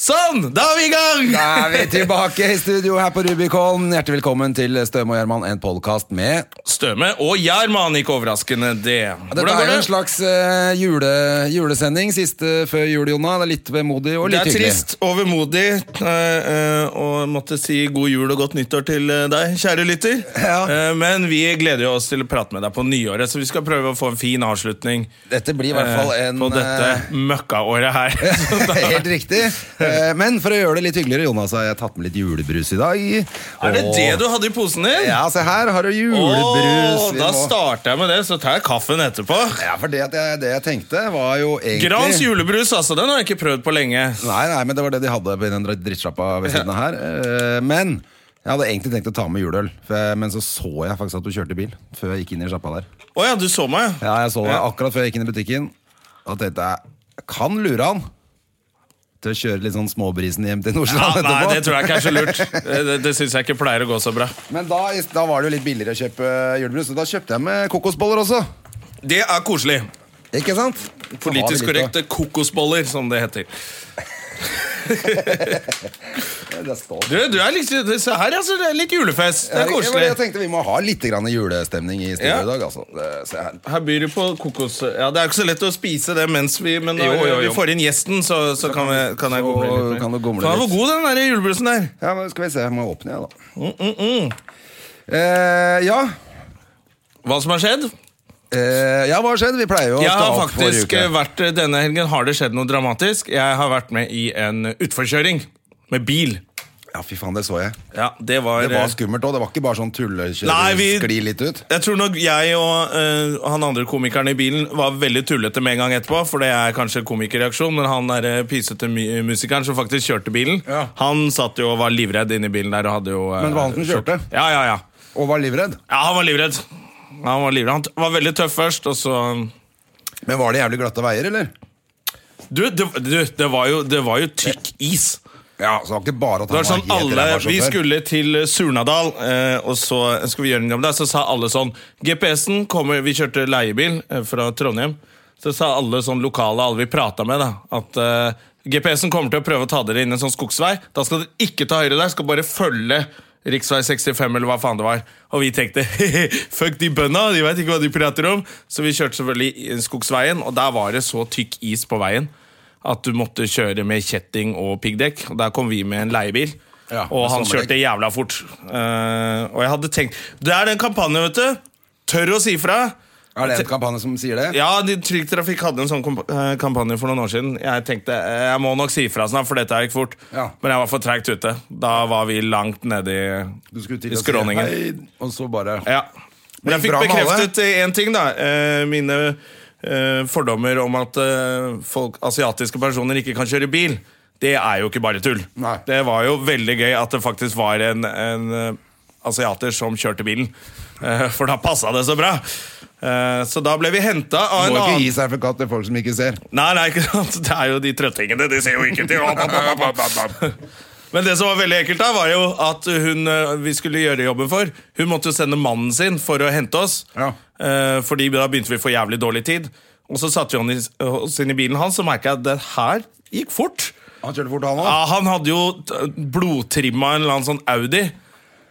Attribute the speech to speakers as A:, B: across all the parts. A: Sånn, da er vi i gang!
B: Da er vi tilbake i studio her på Rubicon. Hjertelig velkommen til Støme og Gjerman, en podkast med
A: Støme og Gjerman, ikke overraskende det.
B: Dette
A: Hvordan
B: er
A: går
B: jo
A: det?
B: en slags eh, jule, julesending, siste før jul, Jonna. Det er litt vemodig og
A: Det
B: litt
A: er
B: hyggelig.
A: trist, overmodig, eh, eh, og måtte si god jul og godt nyttår til eh, deg, kjære lytter.
B: Ja.
A: Eh, Men vi gleder jo oss til å prate med deg på nyåret, så vi skal prøve å få en fin avslutning
B: Dette blir i hvert fall
A: eh,
B: en
A: på dette
B: eh,
A: møkkaåret her. Så da-
B: Helt riktig. Eh, Men for å gjøre det litt hyggeligere, Jonas, har jeg tatt med litt julebrus i dag.
A: Er det det du hadde i posen din?
B: Ja, se her har du julebrus.
A: Åh,
B: Vi
A: da
B: må-
A: starter jeg med det, så tar jeg kaffen etterpå.
B: Ja, for det, at jeg- det jeg tenkte, var jo egentlig
A: Grans julebrus, altså. Den har jeg ikke prøvd på lenge.
B: Nei, nei, men det var det de hadde på den drittsjappa ved siden av her. Eh, Men jeg hadde egentlig tenkt å ta med juleøl, for jeg- men så så jeg faktisk at du kjørte bil før jeg gikk inn i sjappa der.
A: Å ja, du så meg?
B: Ja, jeg så det
A: Ja.
B: akkurat før jeg gikk inn i butikken. Da tenkte jeg jeg kan lure han til å kjøre litt sånn småbrisen hjem til
A: Ja,
B: Nordstrand
A: nei, det tror jeg ikke er så lurt. Det, det, det syns jeg ikke pleier å gå så bra.
B: Men da, da var det jo litt billigere å kjøpe julebrus, så da kjøpte jeg med kokosboller også.
A: Det er koselig.
B: Ikke sant?
A: Politisk
B: Så har vi litt
A: korrekte kokosboller, som det heter.
B: å- Det står
A: Du, du er liksom, det- se her, altså. Det er litt julefest. Det er
B: Jeg, jeg
A: koselig.
B: tenkte Vi må ha litt grann julestemning i studio
A: Ja.
B: i dag. Altså. Det- Se her.
A: Her byr du på kokos... Ja, Det er jo ikke så lett å spise det mens vi Men når
B: Jo, jo, jo.
A: vi får inn gjesten, så, så, kan, vi, kan jeg
B: så
A: gomle litt. mer.
B: kan du gomle
A: Faen,
B: litt.
A: hvor god den der julebrusen er.
B: Ja, men Skal vi se, jeg må åpne, jeg, da.
A: Mm,
B: Eh, ja.
A: Hva som har skjedd?
B: Eh, ja, hva har skjedd? Vi pleier jo å
A: Jeg
B: ta
A: har
B: opp forrige
A: faktisk eh,
B: uke.
A: vært Denne helgen har det skjedd noe dramatisk. Jeg har vært med i en utforkjøring med bil.
B: Ja, fy faen, det så jeg.
A: Ja, det var,
B: Det var
A: eh,
B: skummelt òg. Det var ikke bare sånn tullekjøre,
A: Nei, vi-
B: skli litt ut.
A: Jeg tror nok jeg og eh, han andre komikeren i bilen var veldig tullete med en gang etterpå, for det er kanskje komikerreaksjon, men han der eh, pysete mu- musikeren som faktisk kjørte bilen,
B: Ja.
A: han satt jo og var livredd inne i bilen der og hadde jo eh,
B: Men det var han som kjørte?
A: kjørt- Ja, ja, ja.
B: Og var livredd.
A: Ja, han var livredd. Han var livredd. Han t- var veldig tøff først, og så
B: Men var det jævlig glatte veier, eller?
A: Du, det, du, det, var, jo, det var jo tykk is.
B: Ja, så det var ikke bare at
A: Det
B: han
A: var sånn
B: helt
A: alle,
B: ræva
A: Vi
B: sjåfør.
A: skulle til eh, Surnadal, eh, og så skulle vi gjøre en jobb der. Så sa alle sånn GPS-en kommer Vi kjørte leiebil eh, fra Trondheim. Så sa alle sånn lokale, alle vi prata med, da, at eh, GPS-en kommer til å prøve å ta dere inn en sånn skogsvei. Da skal dere ikke ta høyre der, skal bare følge Riksvei 65, eller hva faen det var. Og vi tenkte fuck de bønda, de veit ikke hva de prater om. Så vi kjørte selvfølgelig i eh, skogsveien, og der var det så tykk is på veien at du måtte kjøre med kjetting og piggdekk. Og Der kom vi med en leiebil.
B: Ja,
A: og
B: med
A: han
B: sommerdekk.
A: kjørte jævla fort. Eh, og jeg hadde tenkt Det er den kampanjen, vet du. Tør å si fra.
B: Er det en kampanje som sier det?
A: Ja, de- Trygg Trafikk hadde en sånn komp- eh, kampanje for noen år siden. Jeg tenkte eh, jeg må nok si fra snart, for dette her gikk fort.
B: Ja.
A: Men jeg var for treigt ute. Da var vi langt nede
B: Du
A: i,
B: skulle til
A: i
B: å si
A: skråningen.
B: hei, og så bare
A: Ja. Men jeg
B: gikk
A: fikk
B: bra med alle?
A: bekreftet én ting, da. Eh, Mine eh, fordommer om at eh, folk, asiatiske personer ikke kan kjøre bil. Det er jo ikke bare tull.
B: Nei.
A: Det var jo veldig gøy at det faktisk var en, en eh, asiater som kjørte bilen. Eh, For da passa det så bra. Eh, Så da ble vi henta av
B: Må
A: en
B: ikke
A: annen
B: gi seg for katt til folk som ikke ser.
A: Nei, nei, ikke sant? Det er jo de trøttingene. De ser jo ikke til. Men det som var veldig ekkelt, da var jo at hun eh, vi skulle gjøre jobben for, hun måtte jo sende mannen sin for å hente oss.
B: Ja.
A: Eh, Fordi da begynte vi å få jævlig dårlig tid. Og så satte vi han i- oss inn i bilen hans, og merka jeg at det her gikk fort.
B: Han kjørte fort, han òg.
A: Ja, han hadde jo t- blodtrimma en eller annen sånn Audi.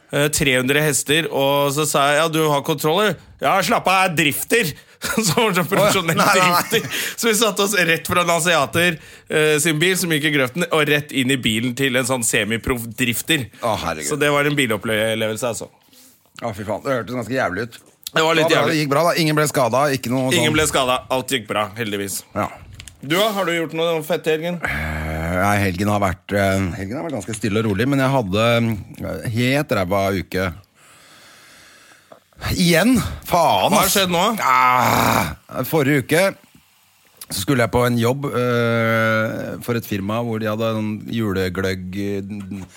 A: Eh, 300 hester, og så sa jeg ja, du har kontroller. Ja, slapp av, jeg er drifter. Så var det sånn profesjonell
B: Å, ja. Nei, nei, nei.
A: drifter. Så vi satte oss rett fra en asiater eh, sin bil, som gikk i grøften, og rett inn i bilen til en sånn semiproff drifter.
B: Å, herregud.
A: så det var en bilopplevelse, altså.
B: Ja, fy faen, Det hørtes ganske jævlig ut.
A: Det var litt
B: Ja, bra, Det
A: jævlig.
B: gikk bra, da. Ingen ble skada. Ikke noe
A: Ingen
B: sånn
A: ble skada. Alt gikk bra, heldigvis.
B: ja.
A: Du, da? Har du gjort noe fett i helgen?
B: Nei, helgen, har vært, eh, helgen har vært ganske stille og rolig, men jeg hadde eh, helt ræva uke. Igjen! Faen,
A: Hva har
B: ass.
A: skjedd nå?
B: Ah, forrige uke Så skulle jeg på en jobb eh, for et firma hvor de hadde en julegløgg eh,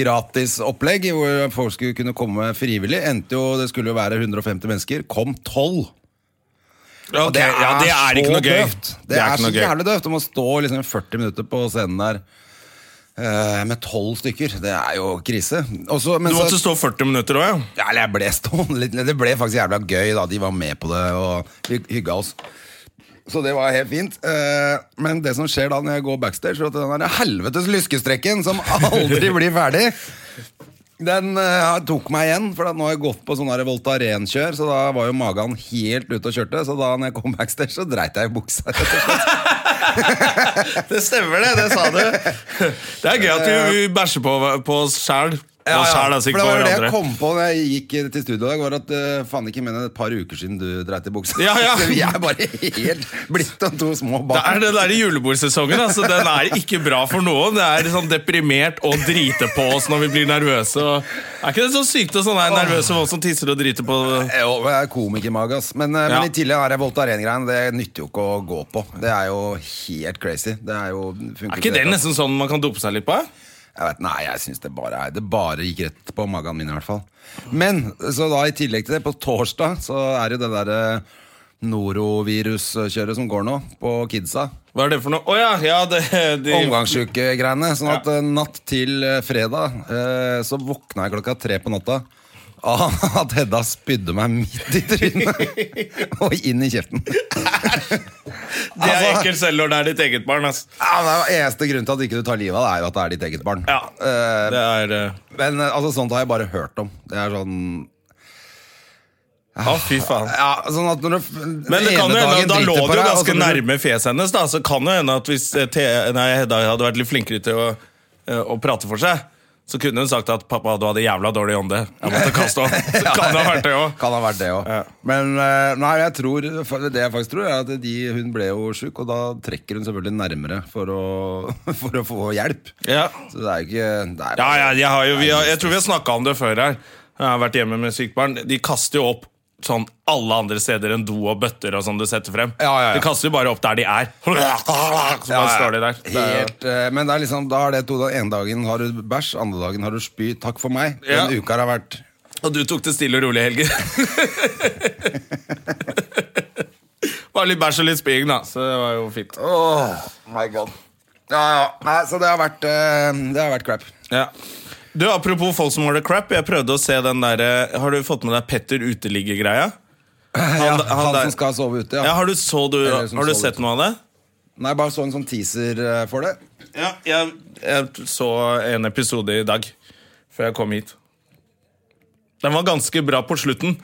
B: gratis opplegg, hvor folk skulle kunne komme frivillig. Endte jo, Det skulle jo være 150 mennesker. Kom 12! Og
A: Ok, ja, det er ikke
B: så
A: noe gøy.
B: døvt. Det, er,
A: ikke
B: så
A: noe gøy.
B: jævlig døvt om å stå liksom 40 minutter på scenen der eh, med 12 stykker. Det er jo krise. Og så- men
A: Du
B: så-
A: måtte stå 40 minutter òg, ja?
B: ja, Eller jeg ble stående litt Det ble faktisk jævla gøy da De var med på det Og vi hygget oss Så det var helt fint Eh, Men det som skjer da Når jeg går backstage Er at den der helvetes lyskestrekken Som aldri blir ferdig Den eh, tok meg igjen For at nå har jeg gått på sånn der Voltaren-kjør Så da var jo magen helt ute og kjørte Så da når jeg kom backstage Så dreit jeg i buksa rett og slett.
A: Det stemmer, det. Det sa du. Det er gøy at vi, vi bæsjer på, på oss sjæl. På oss sjæl, altså,
B: For
A: ikke
B: det
A: på
B: var jo det jeg
A: hverandre.
B: kom på Når jeg gikk til studio i dag Var at eh, faen ikke mener Et par uker siden du dreit i buksa
A: Ja, ja.
B: Så vi er bare helt blitt av to små
A: Det
B: barn
A: er den der julebordsesongen. Altså, den er ikke bra for noen. Det er sånn deprimert og drite på oss når vi blir nervøse. Og, er ikke det så sykt å sånn, nervøse folk som tisser og driter på
B: Jo, men jeg er komikermage, ass. Men, eh,
A: Ja.
B: men i tillegg er det Voltaren-greien. Det nytter jo ikke å gå på. Det er jo helt crazy. Det er jo funker
A: Er ikke det
B: helt, ass.
A: nesten sånn man kan dope seg litt på?
B: Jeg vet, nei, jeg syns det bare er Det bare gikk rett på magen min, i hvert fall. Men så da i tillegg til det, på torsdag så er det det derre noroviruskjøret som går nå, på kidsa.
A: Hva er det for noe? Å ja, ja, det, de,
B: Omgangssjuke-greiene. Sånn at
A: Ja.
B: eh, natt til eh, fredag eh, så våkna jeg klokka tre på natta. Av at Hedda spydde meg midt i trynet og inn i kjeften.
A: det er
B: Altså-
A: ekkelt selv når det er ditt eget barn. ass.
B: Ja, det er jo Eneste grunnen til at du ikke tar livet av det, er jo at det er ditt eget barn.
A: Ja,
B: Eh,
A: det er... eh,
B: men eh, altså, sånt har jeg bare hørt om. Det er sånn
A: Å, fy faen.
B: ja, Sånn at når du f-
A: Men det
B: den
A: kan jo
B: ene
A: hende,
B: dagen
A: da lå
B: driter på
A: det jo
B: deg, og
A: ganske
B: så når du-
A: nærme fjeset hennes, da, så kan det hende at hvis eh, Te, nei, Hedda hadde vært litt flinkere til å, eh, å prate for seg, så kunne hun sagt at 'pappa, du hadde jævla dårlig ånde'. Jeg måtte kaste opp. Så kan det ha vært det òg.
B: Kan ha vært det òg.
A: Ja.
B: Men eh, nei, jeg tror, det jeg faktisk tror, er at de, hun ble jo sjuk, og da trekker hun selvfølgelig nærmere for å, for å få hjelp.
A: Ja.
B: Så det er jo ikke det er,
A: Ja, ja, jeg, har jo, vi har, jeg tror vi har snakka om det før her. Jeg har vært hjemme med sykt barn. De kaster jo opp sånn alle andre steder enn do og bøtter og sånn du setter frem.
B: Ja, ja, ja.
A: De kaster jo bare opp der de er. Så bare står de der. Det er jo-
B: Helt, eh, men det er liksom, da er det to da, En dagen har du bæsj, andre dagen har du spy. Takk for meg.
A: Ja.
B: Den uka har vært
A: Og du tok det stille og rolig, Helge. Bare litt bæsj og litt spying, da. Så det var jo fint.
B: Åh, my god ja, ja. Nei, så det har vært eh, Det har vært crap
A: Ja. Du, Apropos folk som har det crap. Jeg prøvde å se den der, eh, Har du fått med deg Petter uteligger-greia?
B: Han, ja, han,
A: der-
B: som skal sove ute,
A: Ja.
B: ja,
A: har du, så du,
B: Eller som
A: har du
B: så
A: sett
B: ute.
A: noe av det?
B: Nei, bare så en sånn teaser eh, for det
A: Ja, jeg, jeg så en episode i dag før jeg kom hit. Den var ganske bra på slutten,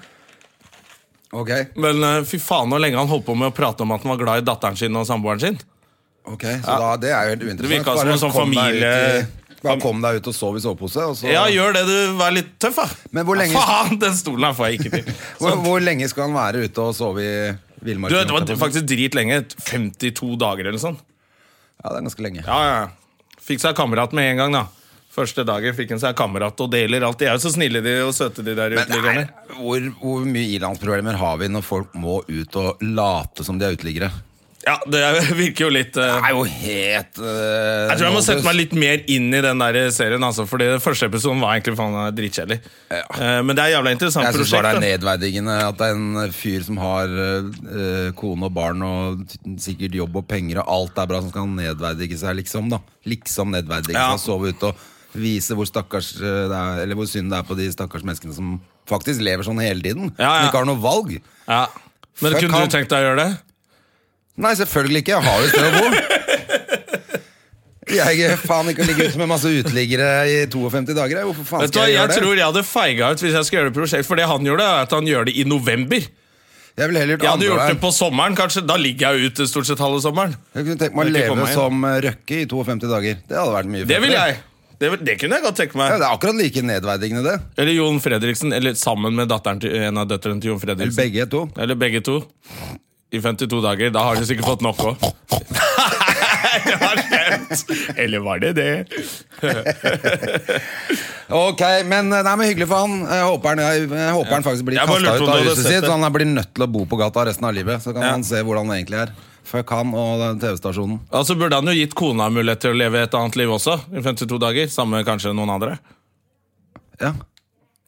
B: Ok,
A: men eh, fy faen hvor lenge han holdt på med å prate om at han var glad i datteren sin og samboeren sin.
B: ok Så da, det er jo helt
A: Det
B: uinteressant
A: virka som en sånn
B: kom deg
A: familie-
B: ut i, Bare kom deg ut og sov i sovepose og så,
A: Ja, gjør det. Du vær litt tøff, da.
B: Men hvor lenge-
A: Ja, Faen, den stolen her får jeg ikke til.
B: hvor, hvor lenge skal han være ute og sove i
A: Du,
B: villmarken?
A: det var faktisk dritlenge. 52 dager eller sånn.
B: Ja, det er ganske lenge
A: Ja, ja, ja. Fikk seg kamerat med en gang, da. Første dagen fikk han seg kamerat og deler alt. De er jo så snille de og søte, de der uteliggerne.
B: Nei, hvor, hvor mye ilandsproblemer har vi når folk må ut og late som de er uteliggere?
A: Ja, det er- virker jo litt eh,
B: Det er jo helt eh,
A: Jeg tror jeg må sette
B: nådeløst.
A: meg litt mer inn i den der serien, altså, fordi den første episoden var egentlig faen meg dritkjedelig. Eh, Men det er et jævla interessant
B: Jeg syns bare det er
A: prosjekt. da.
B: nedverdigende at det er en fyr som har eh, kone og barn og t- sikkert jobb og penger og alt er bra, som skal nedverdige seg, liksom. da Liksom nedverdige
A: Ja.
B: seg, sove ute og vise hvor stakkars eh, det er, Eller hvor synd det er på de stakkars menneskene som faktisk lever sånn hele tiden.
A: Ja, ja.
B: Som ikke har noe valg.
A: Ja. Men
B: Fuck
A: kunne
B: han.
A: du tenkt deg å gjøre det?
B: Nei, selvfølgelig ikke. Jeg har jo et sted å bo. Jeg gidder faen ikke å ligge ute med masse uteliggere i 52 dager. jeg. Hvorfor faen
A: Vet du hva,
B: skal jeg
A: Jeg
B: gjøre det?
A: tror jeg hadde feiga ut hvis jeg skulle gjøre det prosjekt, for det han gjorde, er at han gjør det i november.
B: Jeg ville heller
A: Jeg hadde
B: andre
A: gjort det
B: veien.
A: på sommeren, kanskje. Da ligger jeg ute stort sett halve sommeren.
B: Jeg kunne tenkt meg
A: Det
B: å
A: er ikke for
B: leve
A: meg.
B: som eh, Røkke i 52 dager. Det hadde vært mye
A: Det vil
B: fettere.
A: jeg. Det, vil- det kunne jeg godt tenke
B: Ja,
A: meg.
B: det er akkurat like nedverdigende, det.
A: Eller Jon Fredriksen, eller sammen med datteren til, en av døtrene til Jon
B: Eller
A: Fredriksen.
B: begge to.
A: Eller begge to. I 52 dager. Da har de sikkert fått nok òg. Det var slemt! Eller var det det?
B: Ok, men eh, det er med hyggelig for han. Jeg håper han, jeg, jeg håper han faktisk blir
A: Jeg bare
B: kasta
A: lurte
B: ut
A: om du
B: av
A: hadde
B: huset
A: sett
B: sitt,
A: det.
B: så han blir nødt til å bo på gata resten av livet. Så kan
A: Ja.
B: han se hvordan han egentlig er. Fuck han og den TV-stasjonen.
A: Altså burde han jo gitt kona mulighet til å leve et annet liv også. I 52 dager, Samme kanskje noen andre.
B: Ja.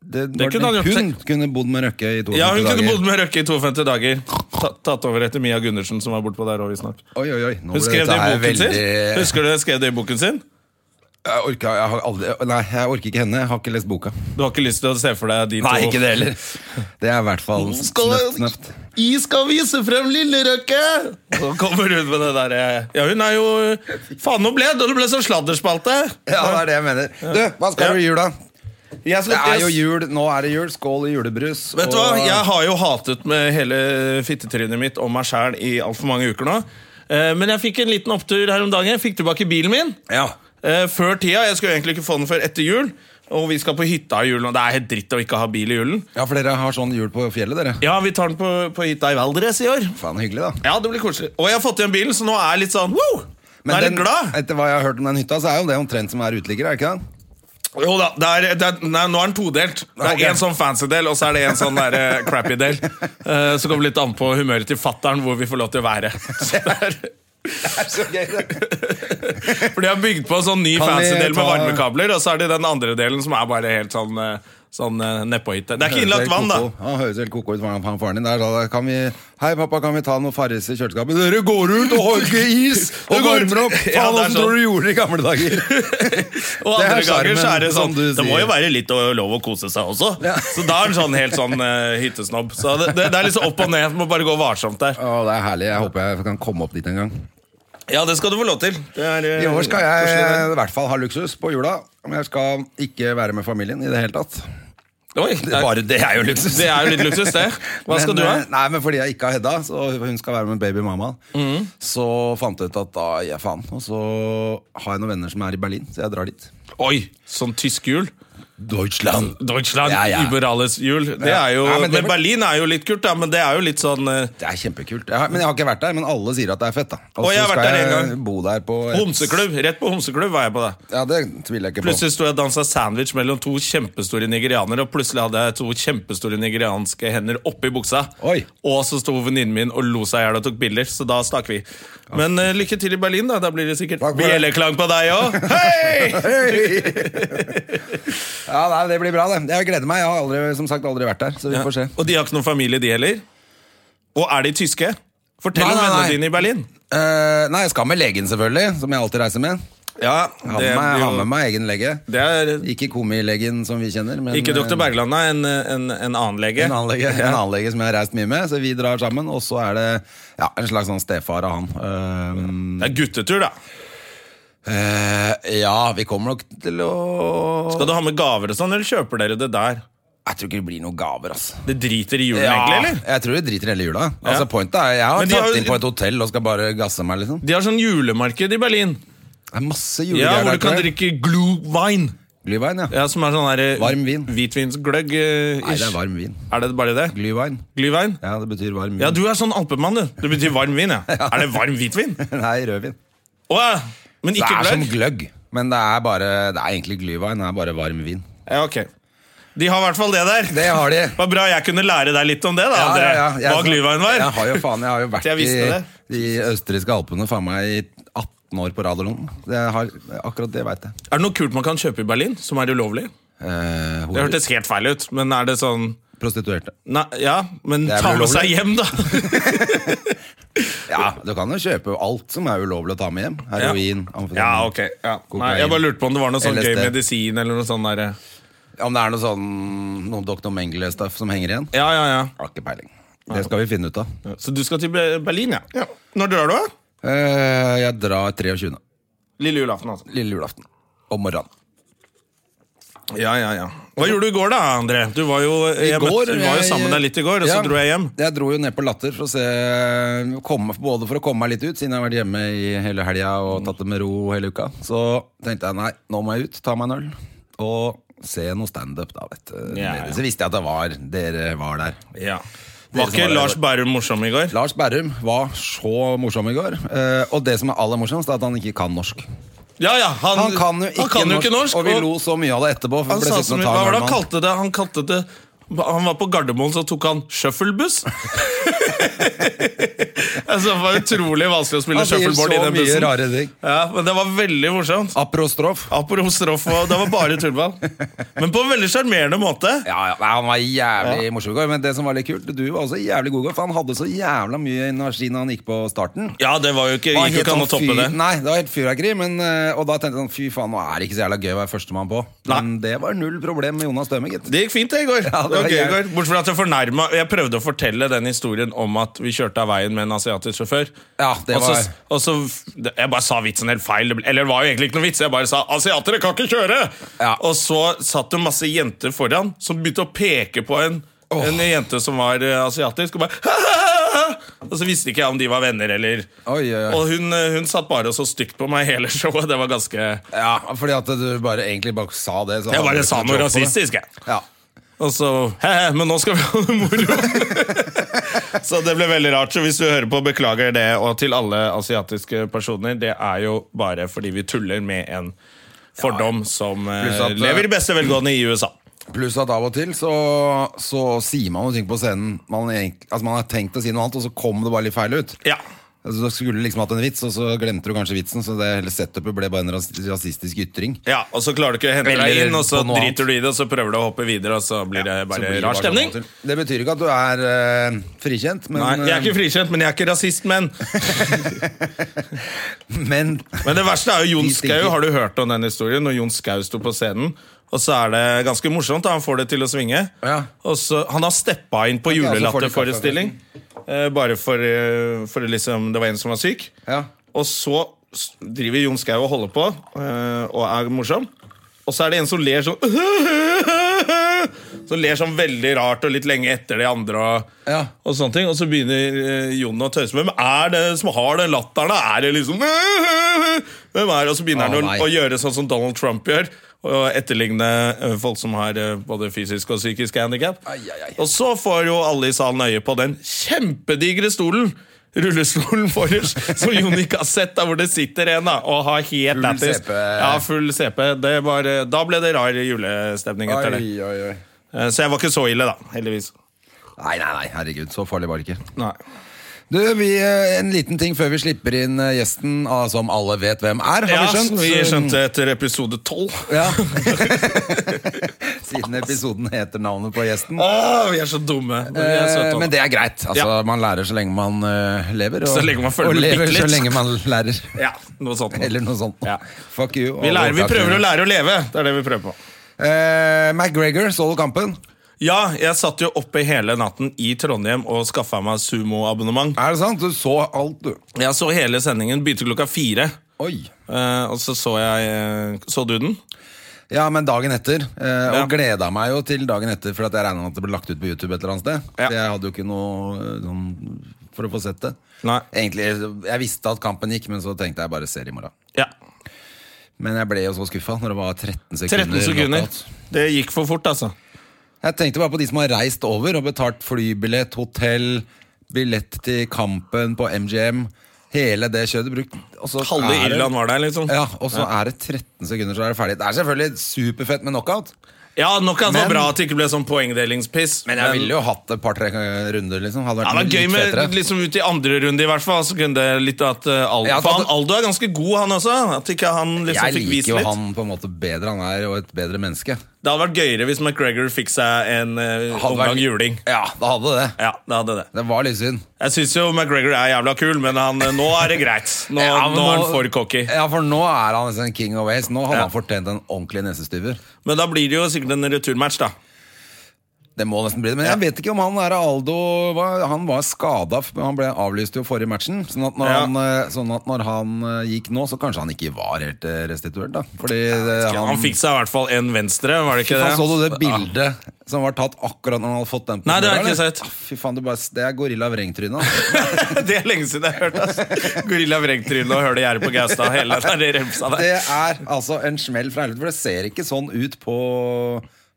B: Det, var-
A: kunne han gjort
B: hun kunne bodd med Røkke i 52
A: Ja, Hun kunne
B: dager.
A: bodd med Røkke i 52 dager. Ta, tatt over etter Mia Gundersen, som var bortpå der òg, visstnok.
B: Oi, oi, oi. Nå
A: Hun
B: ble
A: skrev det i
B: dette her
A: boken sin.
B: veldig-
A: Husker du hun skrev det i boken sin?
B: Jeg orker, jeg har aldri, nei, jeg orker ikke henne. Jeg har ikke lest boka.
A: Du har ikke lyst til å se for deg de to
B: heller. Det er i hvert fall snøft, snøft.
A: I skal vise frem lille Røkke! Så kommer hun med det derre Ja, hun er jo Faen, nå ble det, og det ble så sladderspalte!
B: Ja, det er det jeg mener. Du, hva skal
A: Ja.
B: du i jula?
A: Jeg skal-
B: Det er jo
A: jeg-
B: jul. Nå er det jul. Skål i julebrus.
A: Vet du hva,
B: og-
A: Jeg har jo hatet med hele fittetrynet mitt og meg sjæl i altfor mange uker nå. Eh, Men jeg fikk en liten opptur her om dagen. Jeg fikk tilbake bilen min
B: Ja.
A: eh, før tida. Jeg skulle egentlig ikke få den før etter jul. Og vi skal på hytta i julen, og det er helt dritt å ikke ha bil i julen.
B: ja, for dere har sånn jul på fjellet, dere.
A: Ja, vi tar den på, på hytta i Valdres i år.
B: Faen, hyggelig, da.
A: Ja, det blir koselig. Og jeg har fått igjen bilen, så nå er jeg litt sånn wow! Nå er jeg litt
B: den,
A: glad.
B: etter hva jeg har hørt om den hytta, så er jo det omtrent som er uteligger, er det ikke det?
A: Jo da, det er, det er, nei, nå er den todelt. Det
B: Ok.
A: er én sånn fancy del, og så er det en sånn der, eh, crappy del. Eh, Så kommer det litt an på humøret til fattern hvor vi får lov til å være. Så det er,
B: Det er så gøy, det.
A: for de har bygd på en sånn ny
B: Kan vi
A: fancy del med
B: ta-
A: varmekabler, og så er det den andre delen som er bare helt sånn, eh, sånn eh, nedpåhytte. Det er ikke innlagt vann, da.
B: Han høres helt koko ut, faren, han faren din. Der sa det, kan vi, Hei, pappa, kan vi ta noe Farris i kjøleskapet? Dere går ut og har ikke is!
A: Det
B: Og
A: går ut.
B: varmer opp!
A: Ja,
B: Faen,
A: det er sånn.
B: åssen tror du du gjorde det i gamle dager?
A: Og
B: Det er
A: andre ganger så
B: sjarmen,
A: er det sånn
B: som du
A: Det må
B: sier.
A: jo være litt å- lov å kose seg også.
B: Ja.
A: Så da er han sånn helt sånn eh, hyttesnobb. Så det, det, det er liksom opp og ned. Må bare gå varsomt der.
B: Å, det er herlig. Jeg håper jeg kan komme opp dit en gang.
A: Ja, det skal du få lov til. Det er, eh,
B: I år skal
A: koselig, det.
B: jeg eh, i hvert fall ha luksus på jula. Men jeg skal ikke være med familien i det hele tatt.
A: Oi, det,
B: Bare det er jo luksus.
A: det er jo litt luksus, det. Hva skal
B: men,
A: du ha?
B: eh, Nei, men Fordi jeg ikke har Hedda, så hun skal være med babymammaen,
A: Mhm.
B: så fant jeg ut at da gir jeg faen. Og så har jeg noen venner som er i Berlin, så jeg drar dit.
A: Oi, sånn tysk jul.
B: Deutschland!
A: Deutschland,
B: Ja, ja.
A: liberales jul. Det
B: Ja.
A: er jo,
B: Ja, men
A: men,
B: det-
A: Berlin er jo litt kult, da, men det er jo litt sånn eh,
B: Det er kjempekult. Jeg har, men jeg har ikke vært der, men alle sier at det er fett. da Og
A: Å, jeg
B: så
A: har vært
B: skal
A: der en
B: jeg
A: gang.
B: bo der på et-
A: homseklubb. Rett på homseklubb var jeg på det.
B: Ja, det tviler jeg ikke på.
A: Plutselig sto jeg og dansa sandwich mellom to kjempestore nigerianere, og plutselig hadde jeg to kjempestore nigerianske hender oppi buksa.
B: Oi.
A: Og så sto venninnen min og lo seg i hjel og tok bilder, så da stakk vi. Men eh, lykke til i Berlin, da. Da blir det sikkert
B: Takk for det.
A: bjelleklang på deg òg. Hei!
B: Ja, nei, Det blir bra, det. Jeg gleder meg. Jeg har aldri, som sagt aldri vært der, så vi får se.
A: Og de har ikke noen familie, de heller. Og er de tyske? Fortell
B: Nei,
A: om
B: nei,
A: vennene
B: nei.
A: dine i Berlin.
B: Eh, nei, jeg skal med legen, selvfølgelig, som jeg alltid reiser med.
A: Ja,
B: Jeg har med meg, jeg har med meg egen lege.
A: det er
B: Ikke komilegen som vi kjenner, men
A: ikke
B: eh,
A: Dr. Bergland, nei, en, en, en annen lege.
B: En annen, lege, en annen lege som jeg har reist mye med, så vi drar sammen. Og så er det ja, en slags sånn stefar av han. Ehm,
A: Det er guttetur, da.
B: eh, ja, vi kommer nok til å
A: Skal du ha med gaver og sånn, eller kjøper dere det der?
B: Jeg tror ikke det blir noen gaver, altså.
A: Det driter i julen, egentlig, eller?
B: jeg tror vi driter hele jula. Altså, pointet er, Jeg har
A: Men de
B: tatt
A: har jo-
B: inn på et hotell og skal bare gasse meg, liksom.
A: De har sånn julemarked i Berlin.
B: Det er
A: Ja,
B: masse julegreier
A: Hvor
B: der.
A: du kan
B: tror jeg.
A: drikke glühwein.
B: Glühwein, ja.
A: Ja, som er sånn her, eh,
B: Varm vin.
A: Hvitvinsgløgg. eh,
B: Nei, det er varm vin.
A: Er det bare det?
B: Glühwein.
A: Glühwein?
B: Ja, det betyr varm vin.
A: Ja, du er sånn alpemann, du. Det betyr varm vin, ja. Er det varm hvitvin?
B: Nei, rødvin.
A: Å, ja. Men
B: Det
A: ikke
B: er som
A: gløgg?
B: gløgg, men det er, bare, det er egentlig glühwein. Det er bare varm vin.
A: Ja, ok. De har i hvert fall det der.
B: Det har de.
A: Det var bra jeg kunne lære deg litt om det, da, André.
B: Jeg-
A: Hva glühwein var.
B: Jeg har jo faen, jeg har jo vært
A: Jeg visste
B: i
A: det.
B: de østerrikske alpene faen meg i 18 år på rad eller noe. Det har, akkurat det veit jeg.
A: Er det noe kult man kan kjøpe i Berlin som er ulovlig?
B: Eh,
A: Det
B: horer,
A: hørtes helt feil ut, men er det sånn
B: prostituerte.
A: Nei, ja, men
B: Det er
A: ta med
B: ulovlig.
A: seg hjem, da!
B: Ja, du kan jo kjøpe alt som er ulovlig å ta med hjem. Heroin, amfetamin
A: ja, ok. Ja. Nei,
B: kokain.
A: jeg bare lurte på om det var noe sånn
B: LSD.
A: gøy medisin eller noe sånn derre
B: Om det er noe sånn noe Dr. Mengele-stuff som henger igjen?
A: Ja, ja, ja.
B: Har ikke peiling. Det skal vi finne ut av.
A: Så du skal til Be- Berlin, ja? Når drar du? da?
B: Eh, jeg drar 23.
A: Lille julaften, altså.
B: Lille julaften. Om morgenen.
A: Ja, ja, ja. Hva gjorde du i går, da, André? Du var jo, jeg møtte, du var jo
B: jeg-
A: sammen med deg litt i går, og så
B: eh, Ja,
A: dro jeg hjem.
B: Jeg dro jo ned på Latter for å se komme, Både for å komme meg litt ut, siden jeg har vært hjemme i hele helga og
A: Mm.
B: tatt det med ro hele uka. Så tenkte jeg nei, nå må jeg ut, ta meg en øl. Og se noe standup, da, vet du.
A: Ja, ja.
B: Så visste jeg at det var dere var der.
A: Ja. Var
B: Dere som var
A: ikke
B: der i
A: Lars
B: går.
A: Bærum morsom i går?
B: Lars Berrum var så morsom i går. eh, Og det som er aller morsomst, er at han ikke kan norsk.
A: Ja, ja, han,
B: Han kan jo ikke,
A: han kan jo ikke norsk.
B: Og vi lo så mye av det etterpå. for
A: Han
B: ble
A: sa
B: sittende
A: så
B: og
A: mye,
B: ta en
A: hva var det
B: øl med
A: han kalte det? Han kalte det Han var på Gardermoen, så tok han shufflebuss. altså, det var utrolig vanskelig å spille
B: Han sier
A: shuffleboard i
B: så
A: den
B: mye
A: bussen.
B: rare ting.
A: Ja, men det var veldig morsomt.
B: Aprostrof.
A: Apropos Roff, og det var bare tullball. Men på en veldig sjarmerende måte.
B: Ja, ja, nei, han var jævlig morsom i går, men det som var litt kult, du var også jævlig god i går, for han hadde så jævla mye energi når han gikk på starten.
A: Ja, det var jo ikke,
B: Det var
A: gikk jo
B: helt
A: ikke an å
B: sånn
A: toppe
B: fyr-
A: det.
B: Nei, det var helt fyrverkeri, men, eh, og da tenkte jeg sånn, fy faen, nå er det ikke så jævla gøy å være førstemann på. Men det var null problem med Jonas Døme, gitt.
A: Det gikk fint det i går.
B: Ja, det
A: det var gøy
B: var
A: i
B: jævlig.
A: går. Bortsett fra at jeg fornærma Jeg prøvde å fortelle den historien om at vi kjørte av veien med en asiatisk sjåfør.
B: Ja, det
A: og så,
B: var-
A: og så det- Jeg bare sa vitsen helt feil. Det ble- Eller det var jo egentlig ikke noe vits. Jeg bare sa 'asiatere kan ikke kjøre'!
B: Ja.
A: Og så satt det masse jenter foran som begynte å peke på en, en jente som var eh, asiatisk, og bare Og så visste ikke jeg om de var venner eller
B: Oi, oi, oi.
A: Og hun, eh, hun satt bare og så stygt på meg hele showet. Det var ganske
B: Ja, fordi at du bare, egentlig bare sa det. så
A: Jeg
B: hadde
A: bare
B: du
A: sa
B: ikke
A: noe
B: kontroll på det.
A: rasistisk, jeg.
B: Ja.
A: Og så Hæ, hæ, men nå skal vi ha det moro! så det ble veldig rart. Så hvis du hører på, beklager det. Og til alle asiatiske personer, det er jo bare fordi vi tuller med en fordom som eh,
B: Pluss at, eh,
A: lever i beste velgående i USA.
B: Pluss at av og til så, så sier man noe ting på scenen man, egentlig, altså man har tenkt å si noe annet, og så kom det bare litt feil ut.
A: Ja.
B: Altså, du skulle liksom hatt en vits, og så glemte du kanskje vitsen, så det hele setupet ble bare en ras rasistisk ytring.
A: ja, Og så klarer du ikke å hente deg
B: Eller
A: inn, og så
B: på noe annet.
A: driter du i det, og så prøver du å hoppe videre, og så blir det
B: Så
A: bare
B: blir det
A: rar
B: bare
A: stemning.
B: sånn. Det betyr ikke at du er eh, frikjent, men,
A: Nei, jeg er
B: eh,
A: ikke frikjent, men jeg er ikke rasist, men
B: eh, men
A: Men det verste er jo Jon
B: De stinker.
A: Skau. Har du hørt om den historien? Når Jon Skau sto på scenen. Og så er det ganske morsomt. da, Han får det til å svinge.
B: Ja.
A: Og så, han har steppa inn på
B: Ok, altså får de
A: julelatterforestilling. eh, bare for, eh, for liksom, det var en som var syk.
B: Ja.
A: Og så s- driver Jon Skau og holder på eh, og er morsom. Og så er det en som ler sånn Som ler sånn veldig rart og litt lenge etter de andre. Og,
B: Ja.
A: og sånne ting Og så begynner eh, Jon å tøyse med Hvem er det som har den latteren? da? Er det liksom Hvem er det? Og så begynner
B: Å,
A: han å,
B: nei.
A: å gjøre sånn som Donald Trump gjør. Og etterligne eh, folk som har eh, både fysisk og psykisk handikap.
B: Ai, ai, ai.
A: Og så får jo alle i salen øye på den kjempedigre stolen. Rullestolen forrest, som Jon ikke har sett, der hvor det sitter en da og har helt
B: Full
A: lættis.
B: CP.
A: Ja, full CP. Det var, eh, da ble det rar julestemning etter det.
B: Oi, oi, oi.
A: Eh, Så jeg var ikke så ille, da. Heldigvis.
B: Nei, nei, nei, herregud, så farlig var det ikke.
A: Nei.
B: Du, vi, eh, En liten ting før vi slipper inn eh, gjesten, ah, som alle vet hvem er,
A: Ja,
B: har vi skjønt?
A: vi skjønte etter episode tolv.
B: Ja. Siden episoden heter navnet på gjesten.
A: Åh, vi er så dumme. Vi er
B: Eh,
A: søte,
B: Men
A: da.
B: det er greit. Altså,
A: Ja.
B: Man lærer så lenge man eh, lever. Og,
A: Så lenge man følger
B: og
A: med
B: lever
A: bitte litt.
B: så lenge man lærer.
A: Ja, noe sånt.
B: Eller noe sånt.
A: Ja.
B: Fuck you.
A: Vi, lærer, vi prøver å lære å leve. Det er det vi prøver på.
B: Eh, McGregor, så du kampen?
A: Ja, jeg satt jo oppe hele natten i Trondheim og skaffa meg sumoabonnement.
B: Er det sant? Du så alt, du.
A: Jeg så hele sendingen. Begynte klokka fire.
B: Oi.
A: eh, og så så jeg eh, Så du den?
B: Ja, men dagen etter. Eh,
A: Ja.
B: Og gleda meg jo til dagen etter, for at jeg regna med at det ble lagt ut på YouTube et eller annet sted.
A: Ja.
B: Så jeg hadde jo ikke noe eh, sånn, for å få sett det.
A: Nei.
B: Egentlig, Jeg visste at kampen gikk, men så tenkte jeg bare ser i morgen.
A: Ja.
B: Men jeg ble jo så skuffa når det var 13
A: 13
B: sekunder.
A: sekunder.
B: knockout.
A: Det gikk for fort, altså.
B: Jeg tenkte bare på de som har reist over og betalt flybillett, hotell, billett til kampen på MGM. Hele det kjødet brukt. og så
A: Halve
B: er det-
A: Irland var der, liksom.
B: Ja, og så er det 13 sekunder, så er det ferdig. Det er selvfølgelig superfett med knockout.
A: Ja, nok at det var
B: Men-
A: bra at det ikke ble sånn poengdelingspiss.
B: Men jeg ville jo hatt et par-tre runder, liksom. Hadde vært
A: Ja, det var
B: litt
A: gøy med
B: fetere.
A: liksom ut i andre runde, i hvert fall. Så kunne det litt at eh, Aldo,
B: Ja, at-
A: for han, Aldo er ganske god, han også. At ikke han liksom
B: Jeg
A: fikk
B: liker
A: vist
B: jo
A: litt.
B: han på en måte bedre. Han er jo et bedre menneske.
A: Det hadde vært gøyere hvis McGregor fikk seg en eh,
B: Hadde
A: omgang
B: vært-
A: juling.
B: Ja, det hadde det.
A: Ja, det hadde det.
B: Det var litt synd.
A: Jeg syns jo McGregor er jævla kul, men han, eh, nå er det greit. Nå,
B: Ja, men
A: nå er han for cocky.
B: Ja, for nå er han liksom king of ways. Nå hadde
A: Ja.
B: han fortjent en ordentlig nesestyver.
A: Men da blir det jo sikkert en returmatch, da.
B: Det må nesten bli det, men jeg vet ikke om han er Aldo var- Han var skada, men han ble avlyst jo forrige matchen. Sånn at når,
A: Ja.
B: han, eh, sånn at når han eh, gikk nå, så kanskje han ikke var helt eh, restituert. Da. Fordi eh,
A: Han,
B: han,
A: fikk seg i hvert fall en venstre, var det ikke det?
B: faen, så du det bildet som var tatt akkurat når han hadde fått den? på
A: Nei, det har jeg
B: bordet,
A: ikke
B: eller?
A: sett.
B: Ah, Fy faen, du bare, Det er gorilla vrengtryne. altså.
A: det er lenge siden jeg har hørt altså. Gorilla vrengtryne og høle gjerde på Gaustad. Hele den der remsa der.
B: Det er altså en smell fra helvete, for det ser ikke sånn ut på,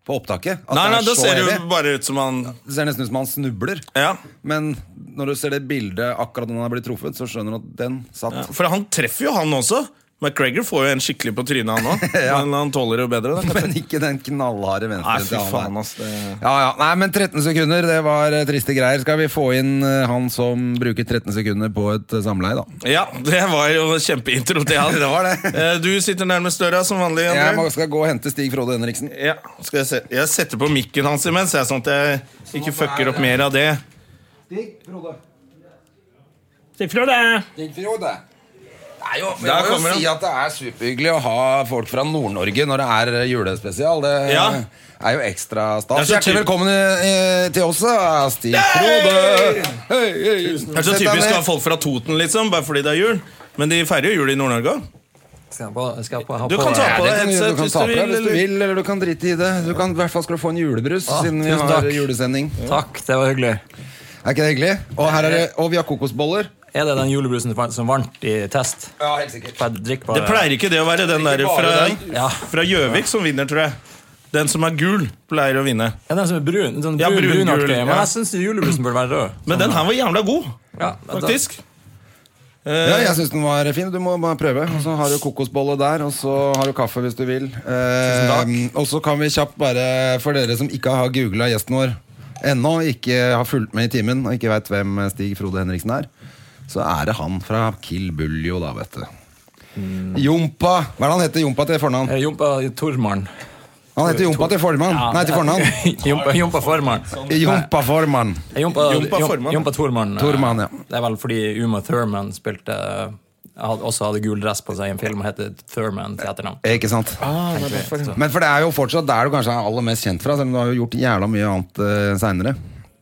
B: på opptaket. at
A: Nei, nei,
B: er
A: det
B: så
A: ser jo
B: heavy.
A: bare ut som han
B: Det ser nesten ut som han snubler.
A: Ja.
B: Men når du ser det bildet akkurat når han er blitt truffet, så skjønner du at den satt.
A: For han treffer jo han også. McGregor får jo en skikkelig på trynet, han òg. Men han tåler jo bedre. Da, kanskje.
B: Men ikke den knallharde
A: Nei,
B: venstre
A: fy faen, ass. Det...
B: Ja, ja. Nei, men 13 sekunder, det var eh, triste greier. Skal vi få inn eh, han som bruker 13 sekunder på et eh, samleie, da?
A: Ja, det var jo kjempeintro til han.
B: Det var det.
A: Eh, Du sitter nærmest døra som vanlig. André.
B: Jeg må, skal gå og hente Stig Frode Henriksen.
A: Ja, skal jeg, se. jeg setter på mikken hans imens, jeg, sånn at jeg ikke fucker opp mer av det.
B: Stig Frode.
A: Siffrå det!
B: Stig Frode. Det er jo, vi
A: Der
B: må jo
A: kommer han.
B: si at det er superhyggelig å ha folk fra Nord-Norge når det er eh, julespesial. Det eh,
A: Ja.
B: er jo ekstra stas.
A: Det er så
B: Hjertelig
A: typ-
B: velkommen eh, til oss, eh, Stig Frode. Hei, hei.
A: Det er så
B: Sett deg
A: typisk å ha
B: ned.
A: folk fra Toten, liksom, bare fordi det er jul. Men de feirer jo jul i Nord-Norge òg.
C: Skal jeg på, skal jeg på, ha
A: Du
C: på
A: kan ta
B: Ja,
A: på
B: det
A: deg
B: kan du, gjøre.
A: headset
B: du kan
A: hvis
B: ta
A: du
B: på
A: vil.
B: deg hvis du
A: eller-
B: vil, eller du kan drite i det. Du kan, I hvert fall skal du få en julebrus
C: Ah,
B: siden vi
C: tusen
B: har
C: takk.
B: julesending.
C: Takk, det var hyggelig.
B: Er ikke det hyggelig? Og, her er det, og vi har kokosboller.
C: Er det den julebrusen du fant som varmt i test?
B: Ja, helt sikkert.
C: Får jeg drikke på
A: Det pleier ikke det å være den der
B: Ikke bare den.
A: fra
C: Ja.
A: fra Gjøvik som vinner, tror jeg. Den som er gul, pleier å vinne.
C: Er den som er brun? Sånn
A: Ja,
C: brun,
A: brun,
C: brun,
A: gul,
C: Men
A: ja.
C: jeg syns julebrusen burde være rød.
A: Men den her var jævla god,
C: Ja, da-
A: faktisk. Eh,
B: Ja, jeg syns den var fin. Du må bare prøve. Og så har du kokosbolle der, og så har du kaffe hvis du vil. Eh, og så kan vi kjapt bare, for dere som ikke har googla gjesten vår ennå, ikke har fulgt med i timen og ikke veit hvem Stig Frode Henriksen er, så er det han fra Kill Buljo, da, vet du. Jompa. Hva er det han heter Jompa til fornavn?
C: Eh, Jompa Tormann.
B: Han heter Jompa til formann.
C: Ja.
B: Nei, til fornavn.
C: Jompa, Jompa Formann.
B: Jompa formann.
C: Eh, Jompa,
A: Jompa
C: Jom-
A: Formann.
C: Jompa Tormann. eh,
B: Tormann, ja.
C: Det er vel fordi Uma Thurman spilte eh, hadde, også hadde gul dress på seg i en film og heter Thurman til etternavn.
B: Eh, Ikke sant? Men for Ah, det er jo fortsatt der du kanskje er aller mest kjent fra, selv om du har jo gjort jævla mye annet uh, seinere.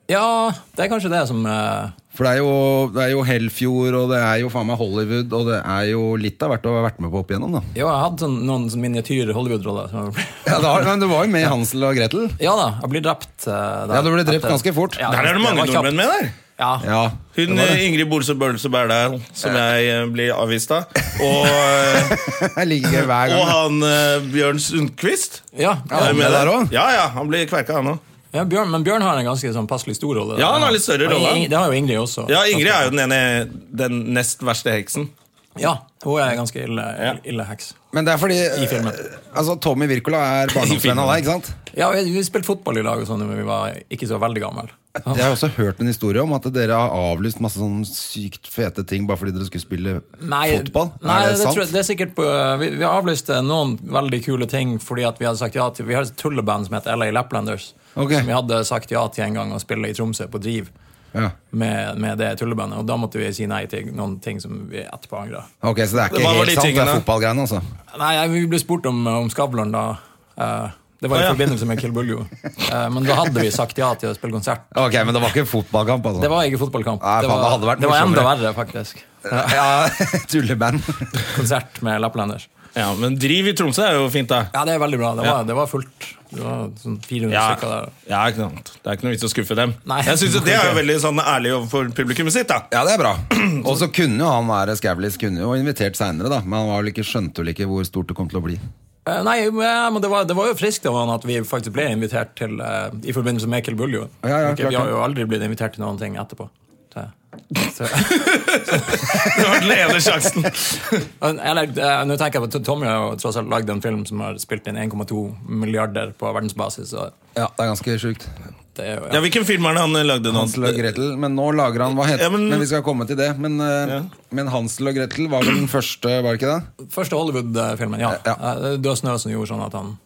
C: Ja, det er kanskje det som eh,
B: For det er, jo, det er jo Hellfjord, og det er jo faen meg Hollywood, og det er jo litt av hvert å ha vært med på opp igjennom, da.
C: Jo, jeg hadde sånn, noen sånn miniatyr Hollywood-roller. som-
B: Ja, det har, men du var jo med i Hansel og Gretel.
C: Ja da, jeg blir drept. eh, der.
B: Ja, du ble drept
C: Etter-
B: ganske fort.
A: Der er det mange
C: var kjapt.
A: nordmenn med der.
C: Ja.
B: Ja,
A: Hun
B: det var det.
A: Ingrid Bolse Bølse Berdal, som jeg eh, blir avvist av. Og, eh,
B: Jeg liker det hver
A: og
B: gang.
A: han eh, Bjørn Sundquist.
C: Ja,
B: Ja,
A: Er
C: ja.
A: du
B: med der
A: der?
B: også?
A: Ja, ja, han blir kverka, han òg.
C: ja Bjørn, Men Bjørn har en ganske sånn passelig stor rolle.
A: Ja, han har litt større
C: Og
A: rolle.
C: Ing- Det har jo Ingrid også.
A: Ja, Ingrid er jo den, ene, den nest verste heksen.
C: Ja, Hun er ganske ille, ille heks.
B: Men det er fordi
C: I filmen.
B: eh, altså, Tommy Wirkola er barndomsvenn av deg, ikke sant?
C: Ja, Vi, vi spilte fotball i lag og sånn da vi var ikke så veldig gamle.
B: Jeg har også hørt en historie om at dere har avlyst masse sånn sykt fete ting bare fordi dere skulle spille fotball.
C: Nei,
B: er
C: det,
B: det sant?
C: Tror jeg, det er sikkert på, eh, vi, vi avlyste noen veldig kule ting fordi at vi hadde sagt ja til Vi har et tulleband som heter LA Laplanders.
B: Ok.
C: Som vi hadde sagt ja til en gang å spille i Tromsø på Driv
B: Ja.
C: med, med det tullebandet. Og da måtte vi si nei til noen ting som vi etterpå angra.
B: Ok, Så det er ikke
A: Hva var
B: helt
A: de
B: sant, det
A: tingene?
B: er fotballgreiene, altså?
C: Nei, jeg- vi ble spurt om, om Skavlan da. Eh, det var i
A: Å, ja.
C: forbindelse med Kill Buljo. Eh, men da hadde vi sagt ja til å spille konsert.
B: Ok, Men det var ikke fotballkamp, altså?
C: Det var ikke fotballkamp.
B: Nei, faen,
C: det,
B: det
C: var,
B: hadde vært
C: det var enda
B: morsommere.
C: verre, faktisk.
B: ja, Tulleband.
C: Konsert med Lapplanders.
A: Ja, Men driv i Tromsø er jo fint, da.
C: Ja, det er veldig bra. Det var,
A: Ja.
C: det var fullt. Det var sånn 400
A: Ja,
C: stykker der.
A: ja ikke sant. Det er ikke noe vits å skuffe dem.
C: Nei.
A: Jeg synes jo Det er jo veldig sånn ærlig overfor publikummet sitt. da
B: Ja, det er bra. Og så kunne jo han være Skavlis kunne jo invitert seinere, da. Men han var vel ikke, skjønte vel ikke hvor stort det kom til å bli.
C: Eh, Nei, men det var, det var jo friskt av han at vi faktisk ble invitert til eh, i forbindelse med Kill Buljo.
B: Ja, ja, klart
C: Ikke- vi
B: det.
C: har jo aldri blitt invitert til noen ting etterpå. Så, så,
A: Det var den ene sjansen
C: eller, eh, nå tenker jeg på Tommy har jo tross alt lagd en film som har spilt inn 1,2 milliarder på verdensbasis. Så
B: Ja, det er ganske sjukt.
C: det er jo,
A: Ja,
C: ja.
A: Hvilken film er det han lagde nå?
B: Hansel og Gretel, men nå lager han hva heter
A: Ja, men-
B: men... vi skal komme til det. Men, eh, men Hansel og Gretel var vel den første, var det ikke det?
C: Første Hollywood-filmen, ja.
B: Ja.
C: Eh, Det var Snø som gjorde sånn at han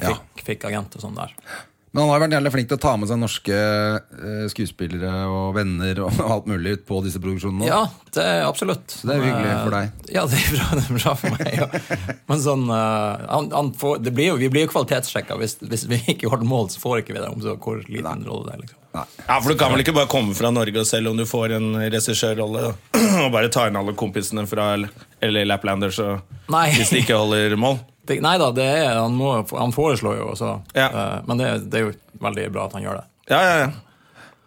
B: Ja.
C: fikk, fikk agent og sånn der.
B: Men han har vært jævlig flink til å ta med seg norske eh, skuespillere og venner og alt mulig ut på disse produksjonene.
C: Ja, det er absolutt. Eh,
B: det er hyggelig for deg.
C: Ja, det er bra, det er bra for meg. Ja. Men sånn, eh, han, han får, det blir jo, vi blir jo kvalitetssjekka. Hvis, hvis vi ikke holder mål, så får ikke vi det om så hvor liten rolle det er. liksom.
A: Ja, for Du kan vel ikke bare komme fra Norge selv om du får en regissørrolle, og bare ta inn alle kompisene fra L- LA Laplanders og-
C: Nei.
A: hvis de ikke holder mål?
C: Det, nei da, det er, han, må, han foreslår jo også,
A: Ja.
C: eh, men det, det er jo veldig bra at han gjør det.
A: Ja, ja, ja